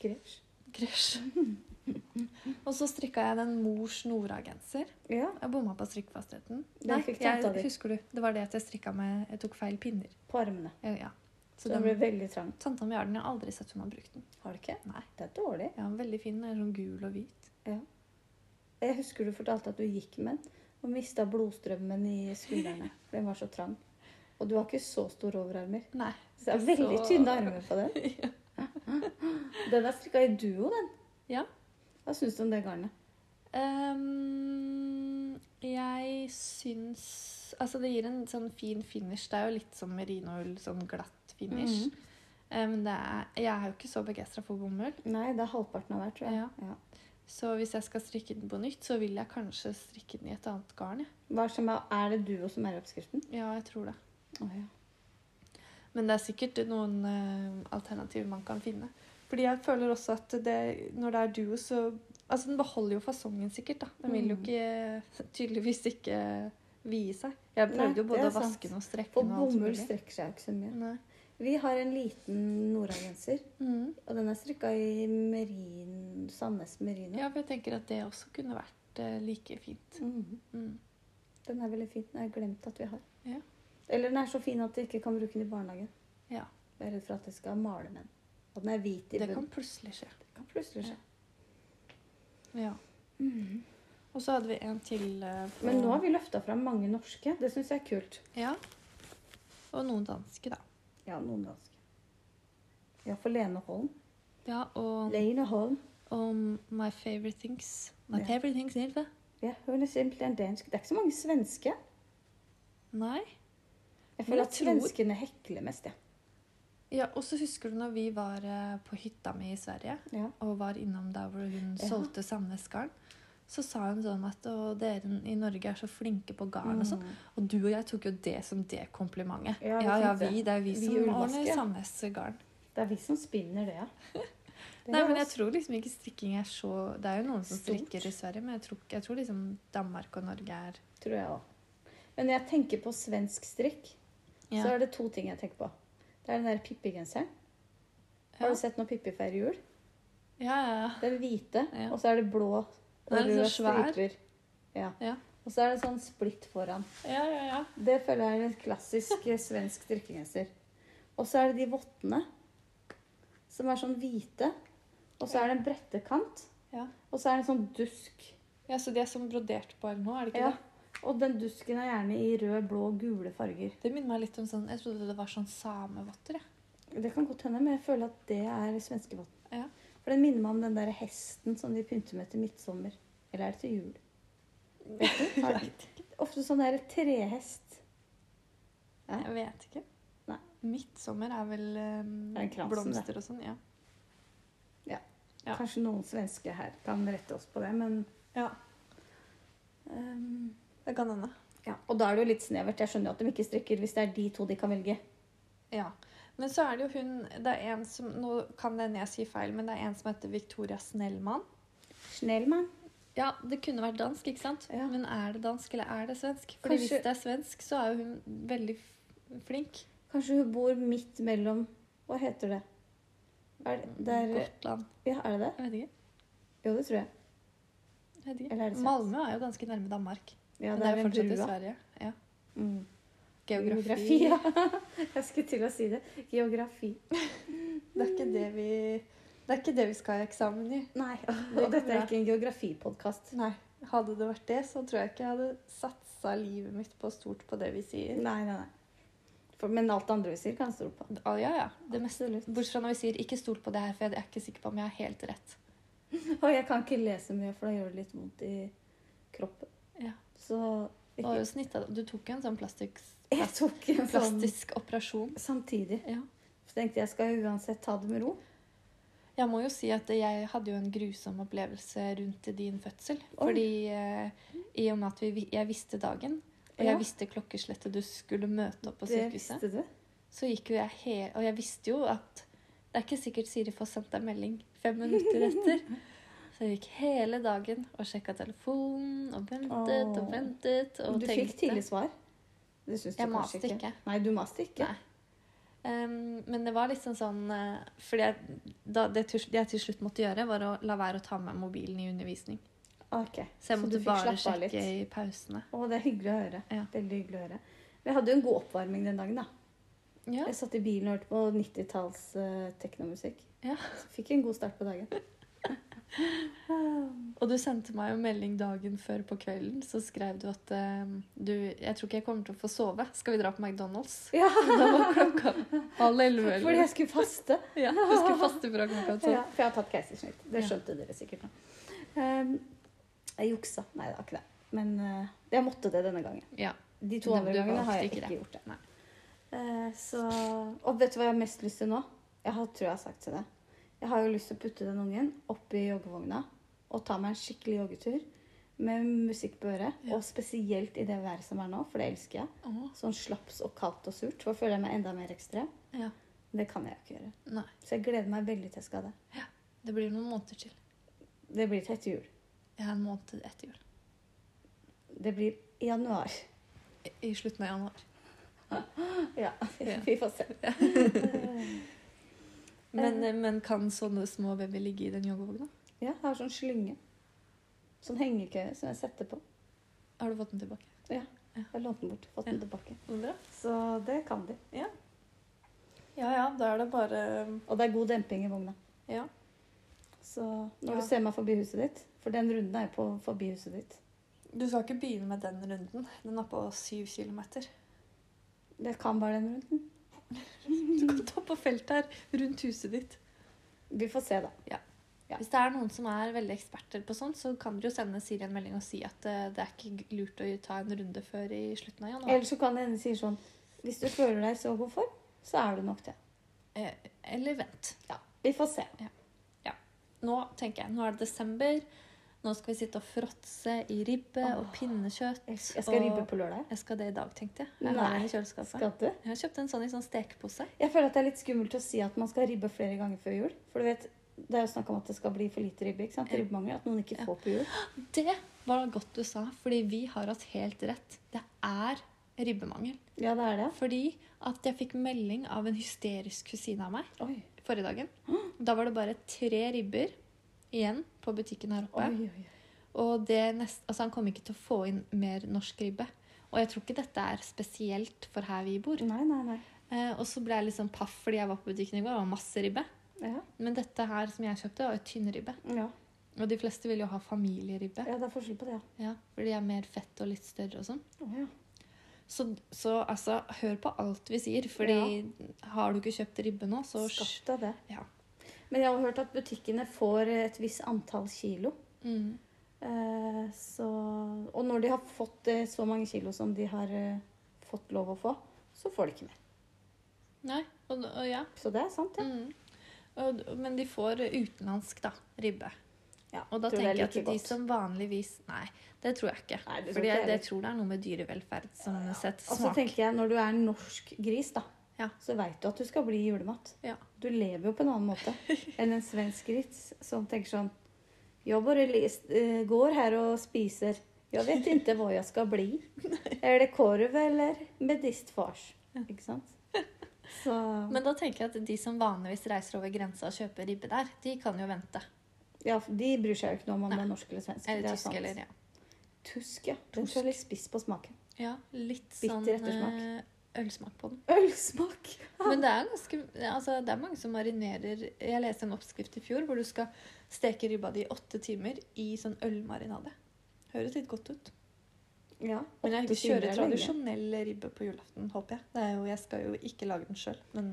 Speaker 1: Gress.
Speaker 2: Krysj. (laughs) Og så strikka jeg den mors Nora-genser.
Speaker 1: Ja.
Speaker 2: Jeg bomma på strikkfastheten.
Speaker 1: Den
Speaker 2: Nei,
Speaker 1: fikk tanta di.
Speaker 2: jeg, husker du? Det var det at jeg strikka med Jeg tok feil pinner.
Speaker 1: På armene.
Speaker 2: Ja, ja.
Speaker 1: Så
Speaker 2: Så
Speaker 1: den
Speaker 2: den,
Speaker 1: ble veldig trang.
Speaker 2: tanta mi har den. Jeg har aldri sett hun har brukt den.
Speaker 1: Har du ikke?
Speaker 2: Nei.
Speaker 1: Det er dårlig.
Speaker 2: Ja, den er veldig fin. Den er sånn gul og hvit.
Speaker 1: Jeg husker du fortalte at du gikk med den og mista blodstrømmen i
Speaker 2: (laughs)
Speaker 1: skuldrene. for Den var så trang. Og du har ikke så store overarmer.
Speaker 2: Nei.
Speaker 1: Så det er veldig
Speaker 2: Så-
Speaker 1: tynne armer på
Speaker 2: (laughs)
Speaker 1: den. (laughs) Den er strikka i duo, den.
Speaker 2: Ja.
Speaker 1: Hva syns du om det garnet?
Speaker 2: Ehm, jeg syns Altså, det gir en sånn fin finish. Det er jo litt som merinoull, sånn glatt finish.
Speaker 1: Mhm.
Speaker 2: Eh, Men det er, jeg er jo ikke så begeistra for bomull.
Speaker 1: Nei, det er halvparten av hver, tror jeg.
Speaker 2: Ja. Så hvis jeg skal strikke den på nytt, så vil jeg kanskje strikke den i et annet garn. jeg.
Speaker 1: Hva som er, er det duo som er oppskriften?
Speaker 2: Ja, jeg tror det.
Speaker 1: Oh, ja.
Speaker 2: Men det er sikkert noen eh, alternativer man kan finne. Fordi jeg føler også at det, når det er duo, så Altså, den beholder jo fasongen sikkert, da. Den vil jo
Speaker 1: Mm.
Speaker 2: ikke (laughs) Tydeligvis ikke vie seg. Jeg
Speaker 1: Nei,
Speaker 2: prøvde jo både
Speaker 1: det er
Speaker 2: å vaske
Speaker 1: sant.
Speaker 2: den og strekke
Speaker 1: For
Speaker 2: den og alt
Speaker 1: bomull
Speaker 2: mulig.
Speaker 1: strekker seg jo ikke så mye.
Speaker 2: Nei.
Speaker 1: Vi har en liten Nora-genser,
Speaker 2: Mm.
Speaker 1: og den er strikka i merin, Sandnes merino.
Speaker 2: Ja, for jeg tenker at det også kunne vært eh, like fint.
Speaker 1: Mhm.
Speaker 2: Mm.
Speaker 1: Den er veldig fin. Jeg har glemt at vi har.
Speaker 2: Ja.
Speaker 1: Eller den er så fin at jeg ikke kan bruke den i barnehagen.
Speaker 2: Ja.
Speaker 1: Jeg er redd for at jeg skal male med den. Og den er hvit i
Speaker 2: Det
Speaker 1: bunnen.
Speaker 2: kan plutselig skje.
Speaker 1: Det kan plutselig skje.
Speaker 2: Ja. Mm.
Speaker 1: Mhm.
Speaker 2: Og så hadde vi en til. eh, på-
Speaker 1: Men nå har vi løfta fram mange norske. Det syns jeg er kult.
Speaker 2: Ja. Og noen danske, da.
Speaker 1: Ja, noen danske. Ja, for Lene Holm.
Speaker 2: Ja, og
Speaker 1: Lene Holm.
Speaker 2: om My Favorite Things. My
Speaker 1: Ja.
Speaker 2: Favorite Things, Ylve?
Speaker 1: Ja, hun er simpelthen dansk. Det er ikke så mange svenske.
Speaker 2: Nei.
Speaker 1: Jeg
Speaker 2: Men jeg
Speaker 1: føler at
Speaker 2: tror-
Speaker 1: svenskene hekler mest, jeg.
Speaker 2: Ja, og så husker du når vi var eh, på hytta mi i Sverige
Speaker 1: Ja.
Speaker 2: og var innom der hvor hun
Speaker 1: Ja.
Speaker 2: solgte Sandnes garn, så sa hun sånn at å, dere i Norge er så flinke på garn og sånn. Og du og jeg tok jo det som det komplimentet.
Speaker 1: Mm. Ja,
Speaker 2: Ja,
Speaker 1: vi
Speaker 2: ja,
Speaker 1: tenkte
Speaker 2: vi. Det er vi,
Speaker 1: Vi
Speaker 2: som
Speaker 1: ullvasker.
Speaker 2: ordner Sandnes garn.
Speaker 1: Det er vi som spinner det, ja. Det
Speaker 2: (laughs) Nei,
Speaker 1: er
Speaker 2: men jeg
Speaker 1: oss.
Speaker 2: tror liksom ikke strikking er så Det er jo noen som
Speaker 1: Stort.
Speaker 2: strikker i Sverige, men jeg tror, jeg tror liksom Danmark og Norge er
Speaker 1: tror jeg òg. Men når jeg tenker på svensk strikk, så
Speaker 2: Så-
Speaker 1: er det to ting jeg tenker på. Det er den der Pippi-genseren.
Speaker 2: Ja,
Speaker 1: Har du sett når Pippi feirer jul?
Speaker 2: ja, ja.
Speaker 1: Den hvite,
Speaker 2: Ja.
Speaker 1: og så er det blå og
Speaker 2: Den er litt
Speaker 1: røde
Speaker 2: så svær.
Speaker 1: striper. Ja.
Speaker 2: Ja.
Speaker 1: Og så er det en sånn splitt foran.
Speaker 2: ja, ja, ja.
Speaker 1: Det føler jeg er en klassisk eh, svensk strikkegenser. Og så er det de vottene, som er sånn hvite. Og så er det en brettekant.
Speaker 2: Ja.
Speaker 1: Og så er det en sånn dusk.
Speaker 2: Ja, Så de er som brodert på nå, er det ikke
Speaker 1: Ja.
Speaker 2: det?
Speaker 1: Og den dusken er gjerne i rød, blå, gule farger.
Speaker 2: Det minner meg litt om sånn Jeg trodde det var sånn samevotter, jeg.
Speaker 1: Det kan godt hende, men jeg føler at det er svenskevotten.
Speaker 2: Ja.
Speaker 1: For den minner meg om den der hesten som de pynter med til midtsommer. Eller er det til jul? Vet du?
Speaker 2: (laughs)
Speaker 1: Har- Ofte sånn der trehest. Ja.
Speaker 2: Jeg vet ikke.
Speaker 1: Nei.
Speaker 2: Midtsommer er vel ehm,
Speaker 1: Det er kransen,
Speaker 2: blomster og sånn. Ja. Ja.
Speaker 1: Kanskje noen svenske her kan rette oss på det, men
Speaker 2: ja.
Speaker 1: ehm,
Speaker 2: Det kan hende.
Speaker 1: ja. Og da er det jo litt snevert. Jeg skjønner jo at de ikke strikker hvis det er de to de kan velge.
Speaker 2: Ja. Men så er det jo hun det er en som, Nå kan det hende jeg sier feil, men det er en som heter Victoria Snellmann.
Speaker 1: Snellmann.
Speaker 2: Ja, det kunne vært dansk, ikke sant?
Speaker 1: Ja.
Speaker 2: Men er det dansk, eller er det svensk? Fordi
Speaker 1: Kanskje-
Speaker 2: hvis det er svensk, så er jo hun veldig f- flink.
Speaker 1: Kanskje hun bor midt mellom Hva heter det? Er det, det er,
Speaker 2: Gotland.
Speaker 1: ja, er det det?
Speaker 2: Jeg vet ikke.
Speaker 1: Jo, det tror jeg.
Speaker 2: Jeg vet ikke.
Speaker 1: Eller er det svensk?
Speaker 2: Malmö er jo ganske nærme Danmark.
Speaker 1: Ja,
Speaker 2: men
Speaker 1: det er
Speaker 2: jo
Speaker 1: en
Speaker 2: fortsatt i
Speaker 1: brua.
Speaker 2: Sverige. Ja.
Speaker 1: Mm.
Speaker 2: Geografi.
Speaker 1: ja. (laughs) Jeg skulle til å si det. Geografi.
Speaker 2: Det, er ikke det, vi, det er ikke det vi skal ha eksamen i. (laughs)
Speaker 1: Nei,
Speaker 2: går
Speaker 1: og dette er
Speaker 2: bra.
Speaker 1: ikke en geografipodkast.
Speaker 2: Nei. Hadde det vært det, så tror jeg ikke jeg hadde satsa livet mitt på stort på det vi sier.
Speaker 1: Nei, nei, nei. For, men alt det andre vi sier, kan jeg stole på.
Speaker 2: Å, Ah, ja, ja. Det meste.
Speaker 1: Absolutt.
Speaker 2: Bortsett fra når vi sier 'ikke stol på det her', for jeg er ikke sikker på om jeg har helt rett.
Speaker 1: Og jeg kan ikke lese mye, for da gjør det litt vondt i kroppen.
Speaker 2: Ja.
Speaker 1: Så
Speaker 2: Du, har jo snittet, du tok jo (laughs) en sånn plastikk,
Speaker 1: (laughs) jeg tok en sånn
Speaker 2: plastisk operasjon.
Speaker 1: samtidig.
Speaker 2: Ja.
Speaker 1: Så tenkte jeg skal jeg uansett ta det med ro.
Speaker 2: Jeg må jo si at jeg hadde jo en grusom opplevelse rundt din fødsel.
Speaker 1: Oi.
Speaker 2: Fordi eh, i og med at vi, vi- jeg visste dagen, og
Speaker 1: Ja.
Speaker 2: jeg visste klokkeslettet du skulle møte opp på
Speaker 1: det
Speaker 2: sykehuset,
Speaker 1: visste du.
Speaker 2: så gikk jo jeg he- Og jeg visste jo at det er ikke sikkert Siri får sendt deg melding fem minutter
Speaker 1: (laughs)
Speaker 2: etter. Så jeg gikk hele dagen og sjekka telefonen og ventet
Speaker 1: Åh.
Speaker 2: og ventet. Og
Speaker 1: du fikk tidlig svar. Det syns du
Speaker 2: Jeg
Speaker 1: kanskje
Speaker 2: maste
Speaker 1: ikke.
Speaker 2: ikke.
Speaker 1: Nei, du maste ikke.
Speaker 2: Nei. Ehm, men det var liksom sånn eh, Fordi jeg, da, det, til, det jeg til slutt måtte gjøre, var å la være å ta med mobilen i undervisning.
Speaker 1: Ok.
Speaker 2: Så
Speaker 1: Så
Speaker 2: jeg
Speaker 1: du
Speaker 2: måtte
Speaker 1: fikk
Speaker 2: bare
Speaker 1: slappe av
Speaker 2: sjekke
Speaker 1: litt.
Speaker 2: i pausene.
Speaker 1: Å, det er hyggelig å høre.
Speaker 2: Ja.
Speaker 1: Veldig hyggelig å høre. Vi hadde jo en god oppvarming den dagen, da.
Speaker 2: Ja.
Speaker 1: Jeg satt i bilen og hørte på 90-talls eh, teknomusikk.
Speaker 2: Ja.
Speaker 1: Så fikk jeg en god start på dagen.
Speaker 2: (laughs) Og du sendte meg jo melding dagen før på kvelden, så skrev du at eh, du, jeg tror ikke jeg kommer til å få sove. Skal vi dra på McDonald's? (laughs)
Speaker 1: Ja,
Speaker 2: Da var klokka halv elleve.
Speaker 1: fordi
Speaker 2: eller-
Speaker 1: jeg skulle
Speaker 2: (laughs)
Speaker 1: faste.
Speaker 2: Ja, du skulle faste fra klokka tolv.
Speaker 1: Ja, for jeg har tatt keisersnitt. Det
Speaker 2: Sånn. Ja.
Speaker 1: skjønte dere sikkert nå. Um, jeg juksa. Nei, det var ikke det. Men eh, jeg måtte det denne gangen.
Speaker 2: Ja.
Speaker 1: De to
Speaker 2: Du-
Speaker 1: andre
Speaker 2: du
Speaker 1: gangene har
Speaker 2: valgte
Speaker 1: jeg
Speaker 2: ikke
Speaker 1: ikke
Speaker 2: det.
Speaker 1: gjort det.
Speaker 2: Nei.
Speaker 1: Eh, så, og vet du hva jeg har mest lyst til nå? Jeg har, tror jeg har sagt til deg. Jeg har jo lyst til å putte den ungen opp i joggevogna og ta meg en skikkelig joggetur med musikk på øret.
Speaker 2: Ja.
Speaker 1: Og spesielt i det været som er nå, for det elsker jeg.
Speaker 2: Åh,
Speaker 1: Sånn slaps og kaldt og surt. For da føler jeg meg enda mer ekstrem.
Speaker 2: ja.
Speaker 1: Det kan jeg jo ikke gjøre.
Speaker 2: Nei,
Speaker 1: Så jeg gleder meg veldig til jeg skal det.
Speaker 2: det blir noen måneder til.
Speaker 1: Det blir til etter jul.
Speaker 2: Jeg er en måned etter jul.
Speaker 1: Det blir i januar.
Speaker 2: I- I slutten av januar.
Speaker 1: Ja,
Speaker 2: (laughs) Ja.
Speaker 1: (laughs) vi får se.
Speaker 2: Men, eh, men kan sånne små babyer ligge i den joggevogna?
Speaker 1: (laughs) Ja, jeg har sånn slynge. Sånn hengekøye som jeg setter på.
Speaker 2: Har du fått den tilbake?
Speaker 1: Jeg har lånt den bort, fått den tilbake.
Speaker 2: Bra.
Speaker 1: Så det kan de.
Speaker 2: Ja ja, da er det bare
Speaker 1: Og det er god demping i vogna.
Speaker 2: Ja.
Speaker 1: Så når
Speaker 2: Ja.
Speaker 1: du ser meg forbi huset ditt, for den runden er jo på forbi huset ditt.
Speaker 2: Du skal ikke begynne med den runden. Den er på syv kilometer.
Speaker 1: Det kan bare den runden.
Speaker 2: Du kan ta på feltet her, rundt huset ditt.
Speaker 1: Vi får se, da. Ja.
Speaker 2: Hvis det er noen som er veldig eksperter på sånt, så kan dere jo sende Siri en melding og si at eh, det er ikke lurt å ta en runde før i slutten av januar.
Speaker 1: Eller så kan det hende sier sånn Hvis du føler deg i så god form, så er du nok det.
Speaker 2: Eh, Eller vent.
Speaker 1: Vi får se.
Speaker 2: Nå tenker jeg, nå er det desember. Nå skal vi sitte og fråtse i ribbe og
Speaker 1: Åh.
Speaker 2: pinnekjøtt.
Speaker 1: Jeg skal
Speaker 2: og-
Speaker 1: ribbe på lørdag.
Speaker 2: Jeg skal det i dag, tenkte jeg. Jeg har
Speaker 1: Nei,
Speaker 2: en i kjøleskapet.
Speaker 1: Skal du?
Speaker 2: Jeg har kjøpt en sånn i sånn stekepose.
Speaker 1: Jeg føler at det er litt skummelt å si at man skal ribbe flere ganger før jul. For du vet, det er jo snakk om at det skal bli for lite ribbe. ikke sant?
Speaker 2: Ja.
Speaker 1: Ribbemangel. At noen ikke
Speaker 2: Ja.
Speaker 1: får på jul.
Speaker 2: Det var godt du sa, fordi vi har hatt helt rett. Det er ribbemangel.
Speaker 1: Ja, det er det.
Speaker 2: Fordi at jeg fikk melding av en hysterisk kusine av meg
Speaker 1: Oi,
Speaker 2: forrige dagen. Da var det bare tre ribber igjen på butikken her
Speaker 1: oi,
Speaker 2: oppe.
Speaker 1: oi.
Speaker 2: Og det nest, altså han kom ikke til å få inn mer norsk ribbe. Og jeg tror ikke dette er spesielt for her vi bor.
Speaker 1: Nei, nei, nei.
Speaker 2: Eh, og så ble jeg litt sånn paff fordi jeg var på butikken i går, og det var masse ribbe.
Speaker 1: Ja,
Speaker 2: Men dette her som jeg kjøpte, var jo tynn ribbe.
Speaker 1: ja.
Speaker 2: Og de fleste vil jo ha familieribbe.
Speaker 1: ja det er forskjell på det, ja.
Speaker 2: Ja, for de er mer fett og litt større og sånn.
Speaker 1: Å, ja.
Speaker 2: Så, så altså, hør på alt vi sier, fordi har du ikke kjøpt ribbe nå, så
Speaker 1: Skaff deg det.
Speaker 2: Ja.
Speaker 1: Men jeg har hørt at butikkene får et visst antall kilo.
Speaker 2: Mm.
Speaker 1: Eh, så, og når de har fått eh, så mange kilo som de har eh, fått lov å få, så får de ikke mer.
Speaker 2: Nei, og, og ja.
Speaker 1: Så det er sant, ja.
Speaker 2: Mm. Og, men de får utenlandsk, da, ribbe.
Speaker 1: ja
Speaker 2: Og da
Speaker 1: tror det er
Speaker 2: tenker jeg at
Speaker 1: like
Speaker 2: de
Speaker 1: godt.
Speaker 2: som vanligvis Nei, det tror jeg ikke.
Speaker 1: Nei, det tror
Speaker 2: Fordi
Speaker 1: ikke jeg
Speaker 2: jeg, det tror det er noe med dyrevelferd som setter
Speaker 1: Og så
Speaker 2: smak.
Speaker 1: tenker jeg, når du er en norsk gris, da,
Speaker 2: Ja.
Speaker 1: så veit du at du skal bli julemat.
Speaker 2: Ja.
Speaker 1: Du lever jo på en annen
Speaker 2: (laughs)
Speaker 1: måte enn en svensk gris som tenker sånn Jeg bare lis- eh, går her og spiser. Jeg vet ikke hva jeg skal bli.
Speaker 2: (laughs)
Speaker 1: Er det korv eller medistfars? Ikke sant? Så
Speaker 2: (laughs) Men da tenker jeg at de som vanligvis reiser over grensa og kjøper ribbe der, de kan jo vente.
Speaker 1: ja, de bryr seg jo ikke noe om om
Speaker 2: Nei.
Speaker 1: det er norsk eller svensk.
Speaker 2: Eller
Speaker 1: det er
Speaker 2: tysk,
Speaker 1: sant.
Speaker 2: eller ja.
Speaker 1: Tusk, ja. Den tror jeg er litt spiss på smaken.
Speaker 2: ja. Litt
Speaker 1: Bitter
Speaker 2: sånn
Speaker 1: ettersmak.
Speaker 2: eh, ølsmak på den.
Speaker 1: Ølsmak!
Speaker 2: Men det er ganske Altså, det er mange som marinerer Jeg leste en oppskrift i fjor hvor du skal steke ribba di i åtte timer i sånn ølmarinade. Høres litt godt ut.
Speaker 1: Ja,
Speaker 2: Men jeg
Speaker 1: åtte timer
Speaker 2: kjører
Speaker 1: er lenge.
Speaker 2: tradisjonell ribbe på julaften, håper jeg. Det er jo, jeg skal jo ikke lage den sjøl, men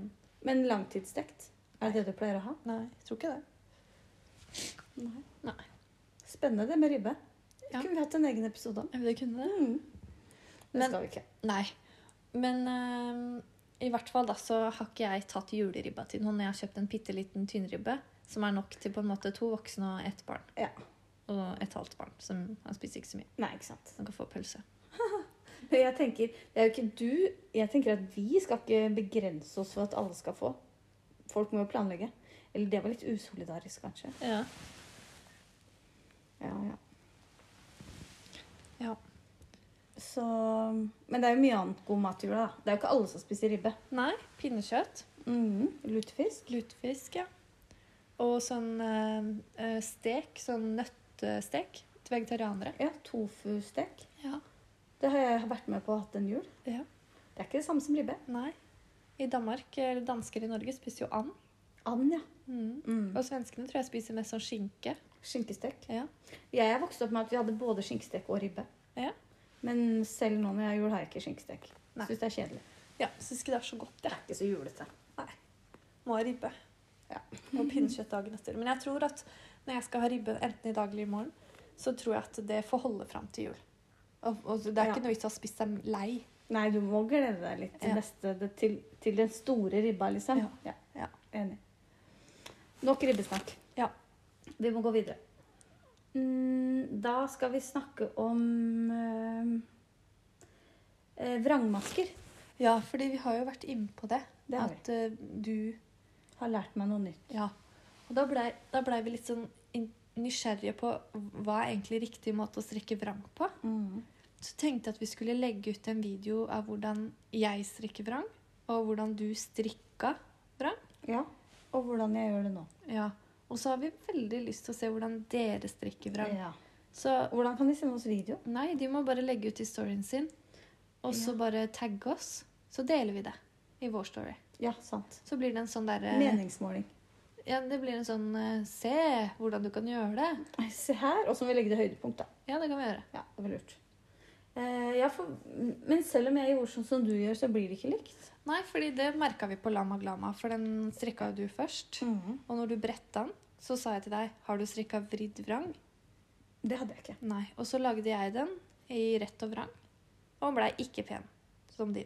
Speaker 1: Men langtidsstekt? Er det det du pleier å ha?
Speaker 2: nei, jeg tror ikke det.
Speaker 1: Nei.
Speaker 2: Nei.
Speaker 1: Spennende det med ribbe.
Speaker 2: Ja.
Speaker 1: Kunne vi hatt en egen episode om.
Speaker 2: Jeg vil kunne det.
Speaker 1: Mm. Det
Speaker 2: Men-
Speaker 1: skal vi ikke.
Speaker 2: Nei. Men øhm, i hvert fall da så har ikke jeg tatt juleribba til noen. Jeg har kjøpt en bitte liten tynnribbe som er nok til på en måte to voksne og ett barn.
Speaker 1: Ja.
Speaker 2: Og et halvt barn, som han spiser ikke så mye.
Speaker 1: Nei, ikke sant.
Speaker 2: Han kan få pølse.
Speaker 1: Men (laughs) jeg tenker, det er jo ikke du Jeg tenker at vi skal ikke begrense oss for at alle skal få. Folk må jo planlegge. Eller det var litt usolidarisk, kanskje.
Speaker 2: Ja.
Speaker 1: Ja, ja.
Speaker 2: Ja.
Speaker 1: Så, men det er jo mye annet god mat i jula. da. Det er jo ikke alle som spiser ribbe.
Speaker 2: Nei, pinnekjøtt.
Speaker 1: Mhm, Lutefisk.
Speaker 2: Lutefisk, ja. Og sånn eh, eh, stek, sånn nøttestek til vegetarianere.
Speaker 1: Ja, Tofustek.
Speaker 2: Ja.
Speaker 1: Det har jeg vært med på og hatt en jul.
Speaker 2: Ja.
Speaker 1: Det er ikke det samme som ribbe.
Speaker 2: Nei. I Danmark, eller dansker i Norge, spiser jo and.
Speaker 1: And, ja.
Speaker 2: Mm.
Speaker 1: Mm.
Speaker 2: Og svenskene tror jeg spiser mest sånn skinke.
Speaker 1: Skinkestek.
Speaker 2: Ja.
Speaker 1: Jeg er vokst opp med at vi hadde både skinkestek og ribbe.
Speaker 2: Ja.
Speaker 1: Men selv nå når jeg har jul, har jeg ikke skinkestek.
Speaker 2: Nei.
Speaker 1: Syns det er kjedelig.
Speaker 2: Ja, Syns ikke det er så godt, jeg.
Speaker 1: Det er ikke så julete.
Speaker 2: Må ha ribbe.
Speaker 1: Ja.
Speaker 2: Og pinnekjøtt dagen etter. Men jeg tror at når jeg skal ha ribbe enten i dag eller i morgen, så tror jeg at det får holde fram til jul. Og, og det er
Speaker 1: Ja.
Speaker 2: ikke noe vits å ha spist seg lei.
Speaker 1: Nei, du må glede deg litt til,
Speaker 2: Ja.
Speaker 1: neste, det- til, til den store ribba, liksom.
Speaker 2: Ja. Ja.
Speaker 1: Enig. Nok ribbesnakk.
Speaker 2: Ja.
Speaker 1: Vi må gå videre. Mm, Da skal vi snakke om eh, eh, vrangmasker.
Speaker 2: Ja, fordi vi har jo vært inne på det.
Speaker 1: Det har vi.
Speaker 2: at eh, du
Speaker 1: Har lært meg noe nytt.
Speaker 2: Ja. Og da blei da blei vi litt sånn in- nysgjerrige på hva er egentlig riktig måte å strikke vrang på. Mm. Så tenkte jeg at vi skulle legge ut en video av hvordan jeg strikker vrang, og hvordan du strikka vrang.
Speaker 1: Ja. Og hvordan jeg gjør det nå.
Speaker 2: Ja. Og så har vi veldig lyst til å se hvordan dere strikker vrang.
Speaker 1: Ja.
Speaker 2: Så
Speaker 1: Hvordan kan de sende oss video?
Speaker 2: nei, de må bare legge ut historien sin, og så
Speaker 1: Ja.
Speaker 2: bare tagge oss. Så deler vi det i vår story.
Speaker 1: Ja, sant.
Speaker 2: Så blir det en sånn derre
Speaker 1: Meningsmåling.
Speaker 2: Ja, det blir en sånn eh, Se hvordan du kan gjøre det.
Speaker 1: Nei, Se her. Og så må vi legge det høydepunkt, da.
Speaker 2: Ja, det kan vi gjøre.
Speaker 1: Ja, det var lurt. Eh, ja, for, men selv om jeg gjorde sånn som du gjør, så blir det ikke likt.
Speaker 2: Nei, fordi det merka vi på Lama Glama, for den strikka jo du først. Og når du bretta den, så sa jeg til deg Har du strikka vridd vrang?
Speaker 1: Det hadde jeg ikke.
Speaker 2: Nei. Og så lagde jeg den i rett og vrang, og blei ikke pen som din.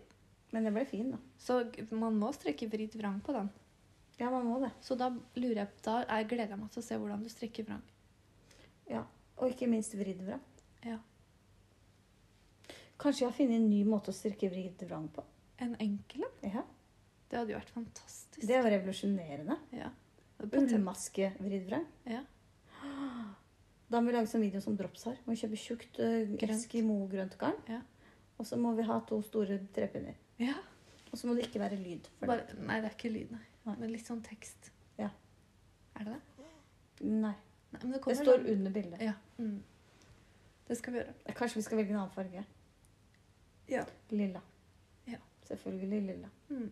Speaker 1: Men det ble fin, da.
Speaker 2: Så g- man må strikke vridd vrang på den.
Speaker 1: Ja, man må det.
Speaker 2: Så da lurer jeg Da er- gleder jeg meg til å se hvordan du strikker vrang.
Speaker 1: Ja. Og ikke minst vridd vrang.
Speaker 2: Ja.
Speaker 1: Kanskje jeg har funnet en ny måte å strikke vridd vrang på.
Speaker 2: En enkel en?
Speaker 1: Ja.
Speaker 2: Det hadde jo vært fantastisk.
Speaker 1: Det er jo revolusjonerende.
Speaker 2: Ja. Potent-
Speaker 1: Ullmaske vridd vrang.
Speaker 2: Ja.
Speaker 1: Da må vi lage sånn video som Drops har. Må kjøpe tjukt uh,
Speaker 2: Grønt.
Speaker 1: Eskimo-grønt garn.
Speaker 2: Ja.
Speaker 1: Og så må vi ha to store trepinner.
Speaker 2: ja.
Speaker 1: Og så må det ikke være lyd. For
Speaker 2: Bare, nei, det er ikke lyd, nei.
Speaker 1: Nei.
Speaker 2: Men litt sånn tekst.
Speaker 1: Ja.
Speaker 2: Er det det?
Speaker 1: det. Nei.
Speaker 2: Nei, men det
Speaker 1: Det
Speaker 2: kommer
Speaker 1: står
Speaker 2: noen-
Speaker 1: under bildet. Eh,
Speaker 2: Ja. Mm. Det skal vi gjøre.
Speaker 1: Kanskje vi skal velge en annen farge.
Speaker 2: Ja.
Speaker 1: Lilla.
Speaker 2: Ja.
Speaker 1: Selvfølgelig lilla.
Speaker 2: Mm.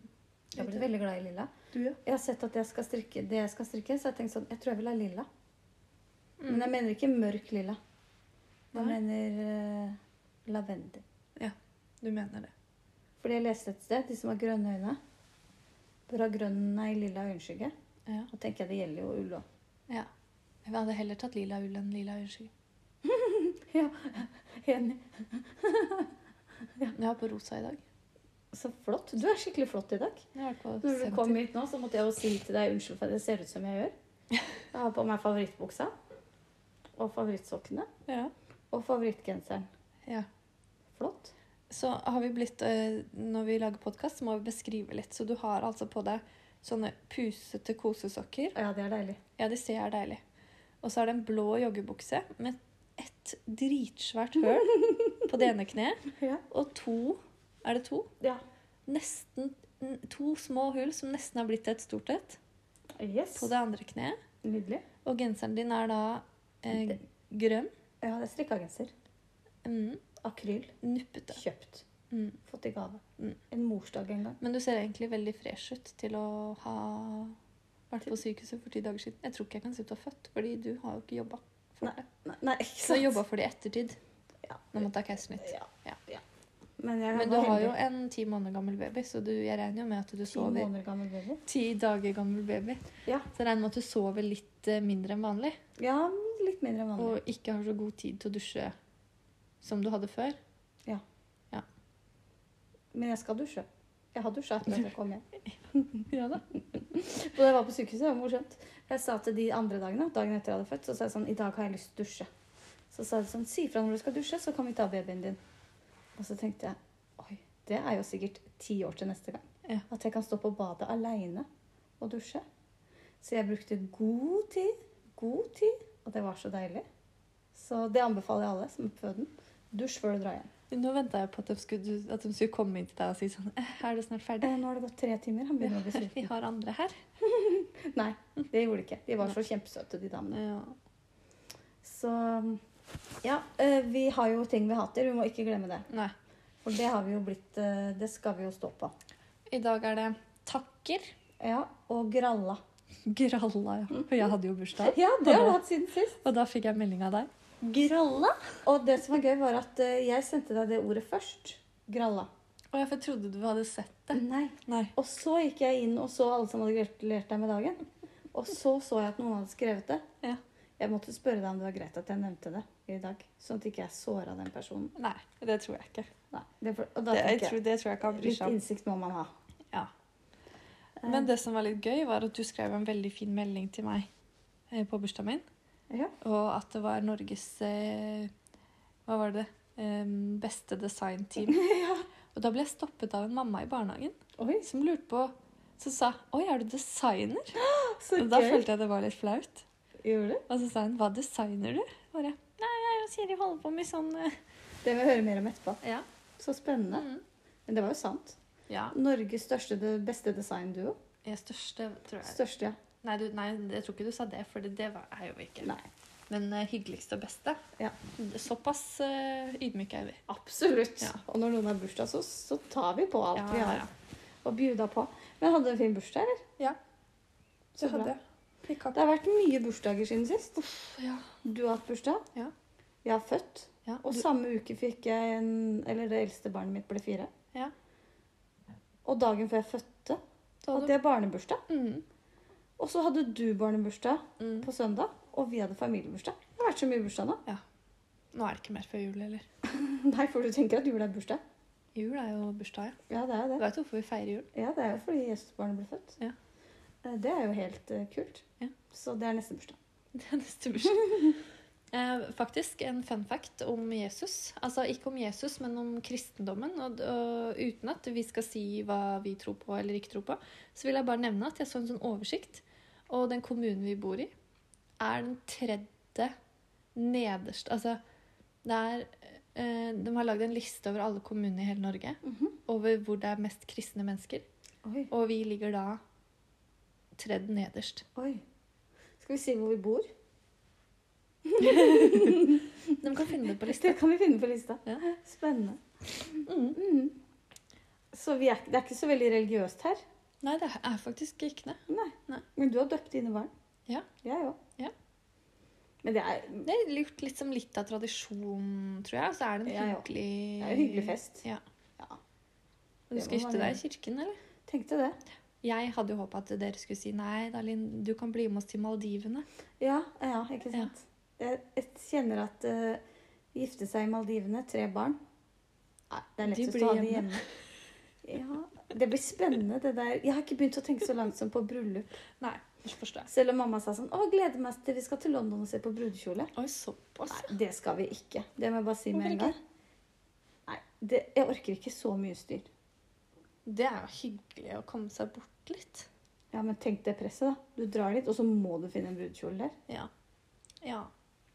Speaker 1: Jeg blir veldig glad i lilla.
Speaker 2: Du, ja.
Speaker 1: Jeg har sett at jeg skal strikke det jeg skal strikke, så jeg tenkte sånn, jeg tror jeg vil ha lilla.
Speaker 2: Mm.
Speaker 1: Men jeg mener ikke mørk lilla. Jeg
Speaker 2: Nei.
Speaker 1: mener eh, lavendel.
Speaker 2: Du mener det.
Speaker 1: Fordi jeg leste et sted de som har grønne øyne, bør ha grønn nei, lilla øyenskygge.
Speaker 2: Ja.
Speaker 1: Og tenker jeg det gjelder jo (laughs) ull òg.
Speaker 2: ja. Jeg hadde heller tatt lilla ull enn lilla øyenskygge.
Speaker 1: Enig.
Speaker 2: Jeg har på rosa i dag.
Speaker 1: Så flott. Du er skikkelig flott i dag.
Speaker 2: Jeg har vært på
Speaker 1: Når du
Speaker 2: senter.
Speaker 1: kom hit nå, så måtte jeg jo si til deg unnskyld for at jeg ser ut som jeg gjør. Jeg har på meg favorittbuksa. Og favorittsokkene.
Speaker 2: Ja.
Speaker 1: Og favorittgenseren.
Speaker 2: ja.
Speaker 1: Flott.
Speaker 2: Så har vi blitt eh, Når vi lager podkast, må vi beskrive litt. Så du har altså på deg sånne pusete kosesokker.
Speaker 1: Ja, det er deilig.
Speaker 2: Ja, de ser jeg er deilig. Og så er det en blå joggebukse med ett dritsvært
Speaker 1: (laughs)
Speaker 2: høl på det ene kneet.
Speaker 1: Ja.
Speaker 2: Og to Er det to?
Speaker 1: ja.
Speaker 2: Nesten n- To små hull som nesten har blitt et stort et.
Speaker 1: Yes.
Speaker 2: På det andre kneet.
Speaker 1: Nydelig.
Speaker 2: Og genseren din er da eh, grønn.
Speaker 1: Ja, det er strikka genser.
Speaker 2: Mm,
Speaker 1: Akryl.
Speaker 2: nuppete.
Speaker 1: Kjøpt.
Speaker 2: Mm.
Speaker 1: Fått i gave.
Speaker 2: Mm.
Speaker 1: En morsdag en gang.
Speaker 2: Men du ser egentlig veldig fresh ut til å ha vært på sykehuset for ti dager siden. Jeg tror ikke jeg kan si at du er født, fordi du har jo ikke jobba for det.
Speaker 1: Nei, nei ikke
Speaker 2: Du har
Speaker 1: sant?
Speaker 2: jobba for det i ettertid.
Speaker 1: Ja.
Speaker 2: Når man tar keisersnitt.
Speaker 1: Ja.
Speaker 2: Ja.
Speaker 1: ja. Men jeg
Speaker 2: Men du
Speaker 1: var
Speaker 2: har
Speaker 1: heldig.
Speaker 2: jo en ti måneder gammel baby, så du, jeg regner jo med at du
Speaker 1: Ti
Speaker 2: sover
Speaker 1: måneder gammel baby.
Speaker 2: Ti dager gammel baby.
Speaker 1: Ja.
Speaker 2: Så jeg regner med at du sover litt eh, mindre enn vanlig.
Speaker 1: Ja, litt mindre enn vanlig.
Speaker 2: Og ikke har så god tid til å dusje som du hadde før.
Speaker 1: Men jeg skal dusje. Jeg har dusja etter at jeg kom hjem.
Speaker 2: Ja da.
Speaker 1: Og da jeg var på sykehuset, det var morsomt. Jeg sa til de andre dagene, dagen etter jeg hadde født, så sa jeg sånn I dag har jeg lyst til å dusje. Så sa de sånn Si fra når du skal dusje, så kan vi ta babyen din. Og så tenkte jeg Oi, det er jo sikkert ti år til neste gang.
Speaker 2: Ja.
Speaker 1: At jeg kan stå på badet aleine og dusje. Så jeg brukte god tid, god tid, og det var så deilig. Så det anbefaler jeg alle som er på føden. Dusj før du drar hjem.
Speaker 2: Nå venta jeg på at de, skulle, at de skulle komme inn til deg og si sånn «Eh, Er du snart ferdig?
Speaker 1: Eh, nå har det gått tre timer. Han begynner å bli
Speaker 2: Vi
Speaker 1: sulten.
Speaker 2: har andre her.
Speaker 1: Nei, det gjorde det ikke. De var så kjempesøte, de damene.
Speaker 2: Ja.
Speaker 1: Så ja, eh, vi har jo ting vi hater. Vi må ikke glemme det.
Speaker 2: Nei.
Speaker 1: For det har vi jo blitt eh, Det skal vi jo stå på.
Speaker 2: I dag er det takker.
Speaker 1: Ja, og gralla.
Speaker 2: Gralla, ja. For jeg hadde jo bursdag.
Speaker 1: (laughs) Ja, det har vi hatt siden sist.
Speaker 2: Og da fikk jeg melding av deg.
Speaker 1: Gralla? Og det som var gøy, var at eh, jeg sendte deg det ordet først. Gralla.
Speaker 2: Og jeg trodde du hadde sett det.
Speaker 1: Nei.
Speaker 2: Nei.
Speaker 1: Og så gikk jeg inn og så alle som hadde gratulert deg med dagen. Og så så jeg at noen hadde skrevet det.
Speaker 2: Ja.
Speaker 1: Jeg måtte spørre deg om det var greit at jeg nevnte det i dag. Sånn at ikke jeg såra den personen.
Speaker 2: Nei, det tror jeg ikke.
Speaker 1: Nei, det, for- og da
Speaker 2: Det, jeg
Speaker 1: tenker
Speaker 2: tror,
Speaker 1: jeg,
Speaker 2: det tror jeg ikke han bryr
Speaker 1: Litt
Speaker 2: seg om.
Speaker 1: innsikt må man ha.
Speaker 2: Ja.
Speaker 1: Eh,
Speaker 2: Men det som var litt gøy, var at du skrev en veldig fin melding til meg eh, på bursdagen min.
Speaker 1: ja.
Speaker 2: Og at det var Norges eh, Hva var det? Eh, beste (laughs) designteam. Og da ble jeg stoppet av en mamma i barnehagen
Speaker 1: Oi,
Speaker 2: som lurte på Som sa 'Oi, er du designer?'
Speaker 1: så
Speaker 2: Og da følte jeg det var litt flaut.
Speaker 1: Gjorde du?
Speaker 2: Og så sa hun 'Hva designer du?' Bare 'Nei, jeg og Siri holder på med sånn eh,
Speaker 1: Det vil jeg høre mer om etterpå.
Speaker 2: Ja.
Speaker 1: Så spennende.
Speaker 2: Mm.
Speaker 1: Men det var jo sant.
Speaker 2: ja.
Speaker 1: Norges største, det beste designduo.
Speaker 2: Jeg er største, tror jeg.
Speaker 1: Største, ja.
Speaker 2: Nei, du, nei, jeg tror ikke du sa det, for det, det var, er jo vi ikke.
Speaker 1: Nei.
Speaker 2: Men eh, hyggeligste og beste.
Speaker 1: Ja.
Speaker 2: Såpass eh, ydmyke er vi.
Speaker 1: Absolutt.
Speaker 2: Ja.
Speaker 1: Og når noen har bursdag, så, så tar vi på alt
Speaker 2: Ja,
Speaker 1: vi
Speaker 2: ja,
Speaker 1: har
Speaker 2: ja.
Speaker 1: og bjuda på. Men hadde du en fin bursdag, eller?
Speaker 2: Ja.
Speaker 1: Så bra.
Speaker 2: Det hadde jeg. Fikk
Speaker 1: Det har vært mye bursdager siden sist.
Speaker 2: kaffe, ja.
Speaker 1: Du har hatt bursdag.
Speaker 2: Ja.
Speaker 1: Jeg har født.
Speaker 2: Ja,
Speaker 1: Og
Speaker 2: du-
Speaker 1: samme uke fikk jeg en Eller det eldste barnet mitt ble fire.
Speaker 2: Ja.
Speaker 1: Og dagen før jeg fødte,
Speaker 2: da hadde
Speaker 1: hadde jeg barnebursdag.
Speaker 2: du- Mm,
Speaker 1: Og så hadde du barnebursdag
Speaker 2: mm.
Speaker 1: på søndag, og vi hadde familiebursdag. Det har vært så mye bursdag nå. (laughs)
Speaker 2: Nå er det ikke mer før jul, eller?
Speaker 1: Nei, for du tenker at jul er bursdag.
Speaker 2: Jul er jo bursdag, ja.
Speaker 1: Ja, det er jo
Speaker 2: Du
Speaker 1: det.
Speaker 2: vet hvorfor vi feirer jul?
Speaker 1: Ja, det er jo fordi Jesusbarnet ble født.
Speaker 2: Ja.
Speaker 1: Eh, Det er jo helt eh, kult.
Speaker 2: Ja.
Speaker 1: Så det er neste bursdag.
Speaker 2: (laughs) Det er neste bursdag. Eh, faktisk en fun fact om Jesus. Altså ikke om Jesus, men om kristendommen. Og, og uten at vi skal si hva vi tror på eller ikke tror på, så vil jeg bare nevne at jeg så en sånn oversikt. Og den kommunen vi bor i, er den tredje nederste Altså det er eh, De har lagd en liste over alle kommunene i hele Norge over hvor det er mest kristne mennesker.
Speaker 1: Mhm. Oi.
Speaker 2: Og vi ligger da tredd nederst.
Speaker 1: Oi. Skal vi si hvor vi bor?
Speaker 2: De kan finne det på lista.
Speaker 1: (laughs) Det kan vi finne på lista.
Speaker 2: Ja.
Speaker 1: Spennende.
Speaker 2: Mm.
Speaker 1: Mm. Så vi er, det er ikke så veldig religiøst her.
Speaker 2: Nei, det er faktisk ikke det.
Speaker 1: Nei.
Speaker 2: Nei.
Speaker 1: Men du har døpt dine barn.
Speaker 2: Ja.
Speaker 1: Jeg òg.
Speaker 2: Ja.
Speaker 1: Men det er,
Speaker 2: Det er litt, litt som litt av tradisjon, tror jeg. Og så er det
Speaker 1: Ja,
Speaker 2: en
Speaker 1: ja.
Speaker 2: hyggelig
Speaker 1: det er en hyggelig fest.
Speaker 2: Ja.
Speaker 1: Ja.
Speaker 2: Og du
Speaker 1: Det
Speaker 2: skal
Speaker 1: må
Speaker 2: gifte
Speaker 1: man
Speaker 2: deg i kirken, eller?
Speaker 1: Tenkte det.
Speaker 2: Jeg hadde jo håpa at dere skulle si nei, Dalin, du kan bli med oss til Maldivene.
Speaker 1: Ja, ja ikke sant. Jeg, jeg kjenner at eh, gifte seg i Maldivene, tre barn Nei, det er
Speaker 2: De
Speaker 1: lettest
Speaker 2: blir
Speaker 1: å ha de hjemme. Ja, det blir spennende, det der. Jeg har ikke begynt å tenke så langt som på bryllup.
Speaker 2: Nei, det forstår jeg.
Speaker 1: Selv om mamma sa sånn Å, gleder meg til vi skal til London og se på brudekjole.
Speaker 2: Oi, såpass.
Speaker 1: Nei, det skal vi ikke. Det må jeg bare si med
Speaker 2: Hvorfor
Speaker 1: en gang. Nei, det, jeg orker ikke så mye styr.
Speaker 2: Det er jo hyggelig å komme seg bort litt.
Speaker 1: Ja, men tenk det presset, da. Du drar dit, og så må du finne en brudekjole der.
Speaker 2: Ja. ja.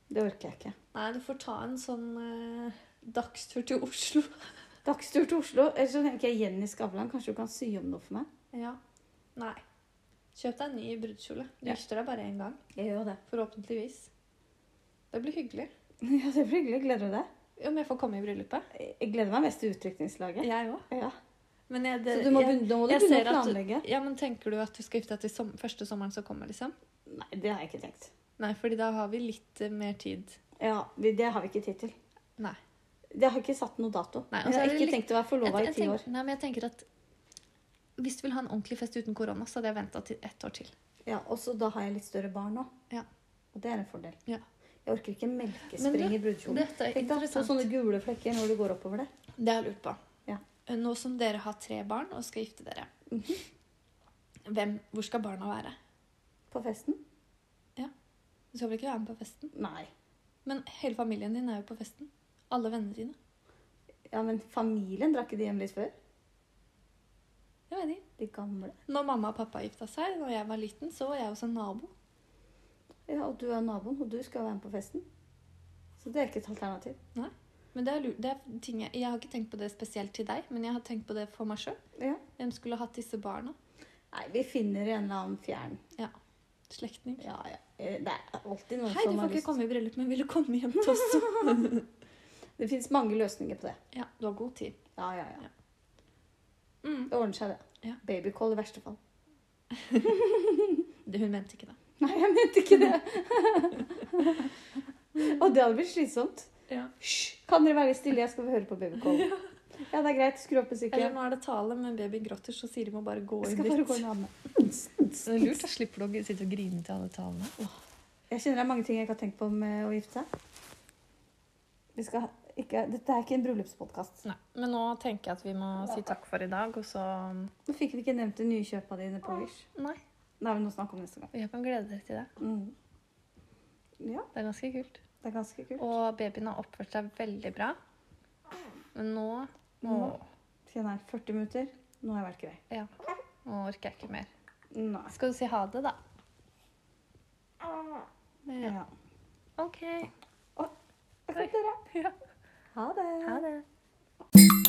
Speaker 1: Det orker jeg ikke.
Speaker 2: Nei, du får ta en sånn eh, dagstur til Oslo.
Speaker 1: Dagstur til Oslo. Eller så tenker jeg Jenny Skavlan, kanskje du kan sy om noe for meg?
Speaker 2: (laughs) Ja. Nei. Kjøp deg en ny brudekjole. Du
Speaker 1: Ja.
Speaker 2: gifter deg bare én gang.
Speaker 1: Jeg gjør det.
Speaker 2: Forhåpentligvis. Det blir hyggelig.
Speaker 1: (laughs) Ja, det blir hyggelig. Gleder du deg?
Speaker 2: Om jeg får komme i bryllupet?
Speaker 1: Jeg gleder meg mest til utrykningslaget.
Speaker 2: Jeg òg.
Speaker 1: Ja.
Speaker 2: Men jeg,
Speaker 1: Så
Speaker 2: det,
Speaker 1: du må
Speaker 2: jeg,
Speaker 1: begynne, nå må du
Speaker 2: jeg
Speaker 1: begynne
Speaker 2: ser
Speaker 1: å
Speaker 2: at du-
Speaker 1: planlegge.
Speaker 2: ja, men tenker du at du skal gifte deg til som, første sommeren som kommer, liksom?
Speaker 1: Nei, det har jeg ikke tenkt.
Speaker 2: Nei, fordi da har vi litt eh, mer tid.
Speaker 1: Ja, vi, Det har vi ikke tid til.
Speaker 2: Nei.
Speaker 1: Det har ikke satt noe dato.
Speaker 2: Nei, og så
Speaker 1: jeg
Speaker 2: er
Speaker 1: har
Speaker 2: det
Speaker 1: ikke
Speaker 2: litt-
Speaker 1: tenkt å være forlova i
Speaker 2: Jeg- jeg
Speaker 1: ti
Speaker 2: tenker-
Speaker 1: år.
Speaker 2: Nei, men jeg tenker at hvis du vil ha en ordentlig fest uten korona, så hadde jeg venta til ett år til.
Speaker 1: Ja, Og så da har jeg litt større barn nå.
Speaker 2: Ja.
Speaker 1: Og det er en fordel.
Speaker 2: Ja.
Speaker 1: Jeg orker ikke
Speaker 2: Men
Speaker 1: melkespring i brudekjolen.
Speaker 2: Dette er
Speaker 1: Tenk da, få
Speaker 2: interessant.
Speaker 1: sånne gule flekker når du går oppover det.
Speaker 2: Det har jeg lurt på. Eh,
Speaker 1: Ja.
Speaker 2: Nå som dere har tre barn og skal gifte dere,
Speaker 1: Mhm.
Speaker 2: hvem, hvor skal barna være?
Speaker 1: På festen?
Speaker 2: Du skal vel ikke være med på festen?
Speaker 1: Nei.
Speaker 2: Men hele familien din er jo på festen. Alle vennene dine.
Speaker 1: Ja, men familien drar ikke de hjem litt før?
Speaker 2: Jeg vet ikke.
Speaker 1: De gamle?
Speaker 2: Når mamma og pappa gifta seg, når jeg var liten, så var jeg hos en nabo.
Speaker 1: Ja, og du er naboen, og du skal være med på festen. Så det er ikke et alternativ.
Speaker 2: Nei. Men det er, lu- det er ting jeg, jeg har ikke tenkt på det spesielt til deg, men jeg har tenkt på det for meg sjøl.
Speaker 1: Ja.
Speaker 2: Hvem skulle hatt disse barna?
Speaker 1: Nei, vi finner en eller annen fjern.
Speaker 2: Slektning.
Speaker 1: Ja, ja. Eh, Det er alltid noen
Speaker 2: Hei, du
Speaker 1: som
Speaker 2: får
Speaker 1: har
Speaker 2: ikke
Speaker 1: lyst.
Speaker 2: komme i bryllup, men vil du komme hjem (laughs) til oss?
Speaker 1: Det fins mange løsninger på det.
Speaker 2: ja, du har god tid.
Speaker 1: Ja, ja, ja.
Speaker 2: Ja. Mm.
Speaker 1: Det ordner seg, det.
Speaker 2: Ja.
Speaker 1: Babycall i verste fall. (laughs)
Speaker 2: Det, hun mente ikke det.
Speaker 1: Nei, jeg mente ikke det. (laughs) Og det hadde blitt slitsomt.
Speaker 2: Ja.
Speaker 1: Hysj! Kan dere være stille? Jeg skal få høre på babycall. Ja, det er greit. Skru opp
Speaker 2: Eller
Speaker 1: musikken.
Speaker 2: nå er det tale, men babyen gråter, så sier de må bare gå
Speaker 1: Jeg
Speaker 2: inn
Speaker 1: skal bare
Speaker 2: dit.
Speaker 1: gå og lade meg.
Speaker 3: Så det er lurt, da slipper du å sitte og grine til alle talene.
Speaker 1: Jeg kjenner det er mange ting jeg ikke har tenkt på med å gifte seg. Vi skal ikke, dette er ikke en bryllupspodkast.
Speaker 2: Nei, men nå tenker jeg at vi må si takk for i dag, og så mm,
Speaker 1: Nå fikk vi ikke nevnt de nye kjøpa dine på Wish.
Speaker 2: Nei.
Speaker 1: Det er vel noe å snakke om neste gang.
Speaker 2: Jeg kan glede deg til det.
Speaker 1: Mm. Ja,
Speaker 2: Det er ganske kult.
Speaker 1: det er ganske kult.
Speaker 2: Og babyen har oppført seg veldig bra. Men nå
Speaker 1: Nå kjenner jeg 40 minutter. Nå har jeg vært grei.
Speaker 2: Ja. Nå orker jeg ikke mer.
Speaker 1: Nei.
Speaker 2: Skal du si ha det, da?
Speaker 1: Ja.
Speaker 2: OK.
Speaker 1: Takk for dere.
Speaker 2: Ja.
Speaker 1: Ha det.
Speaker 2: Ha det.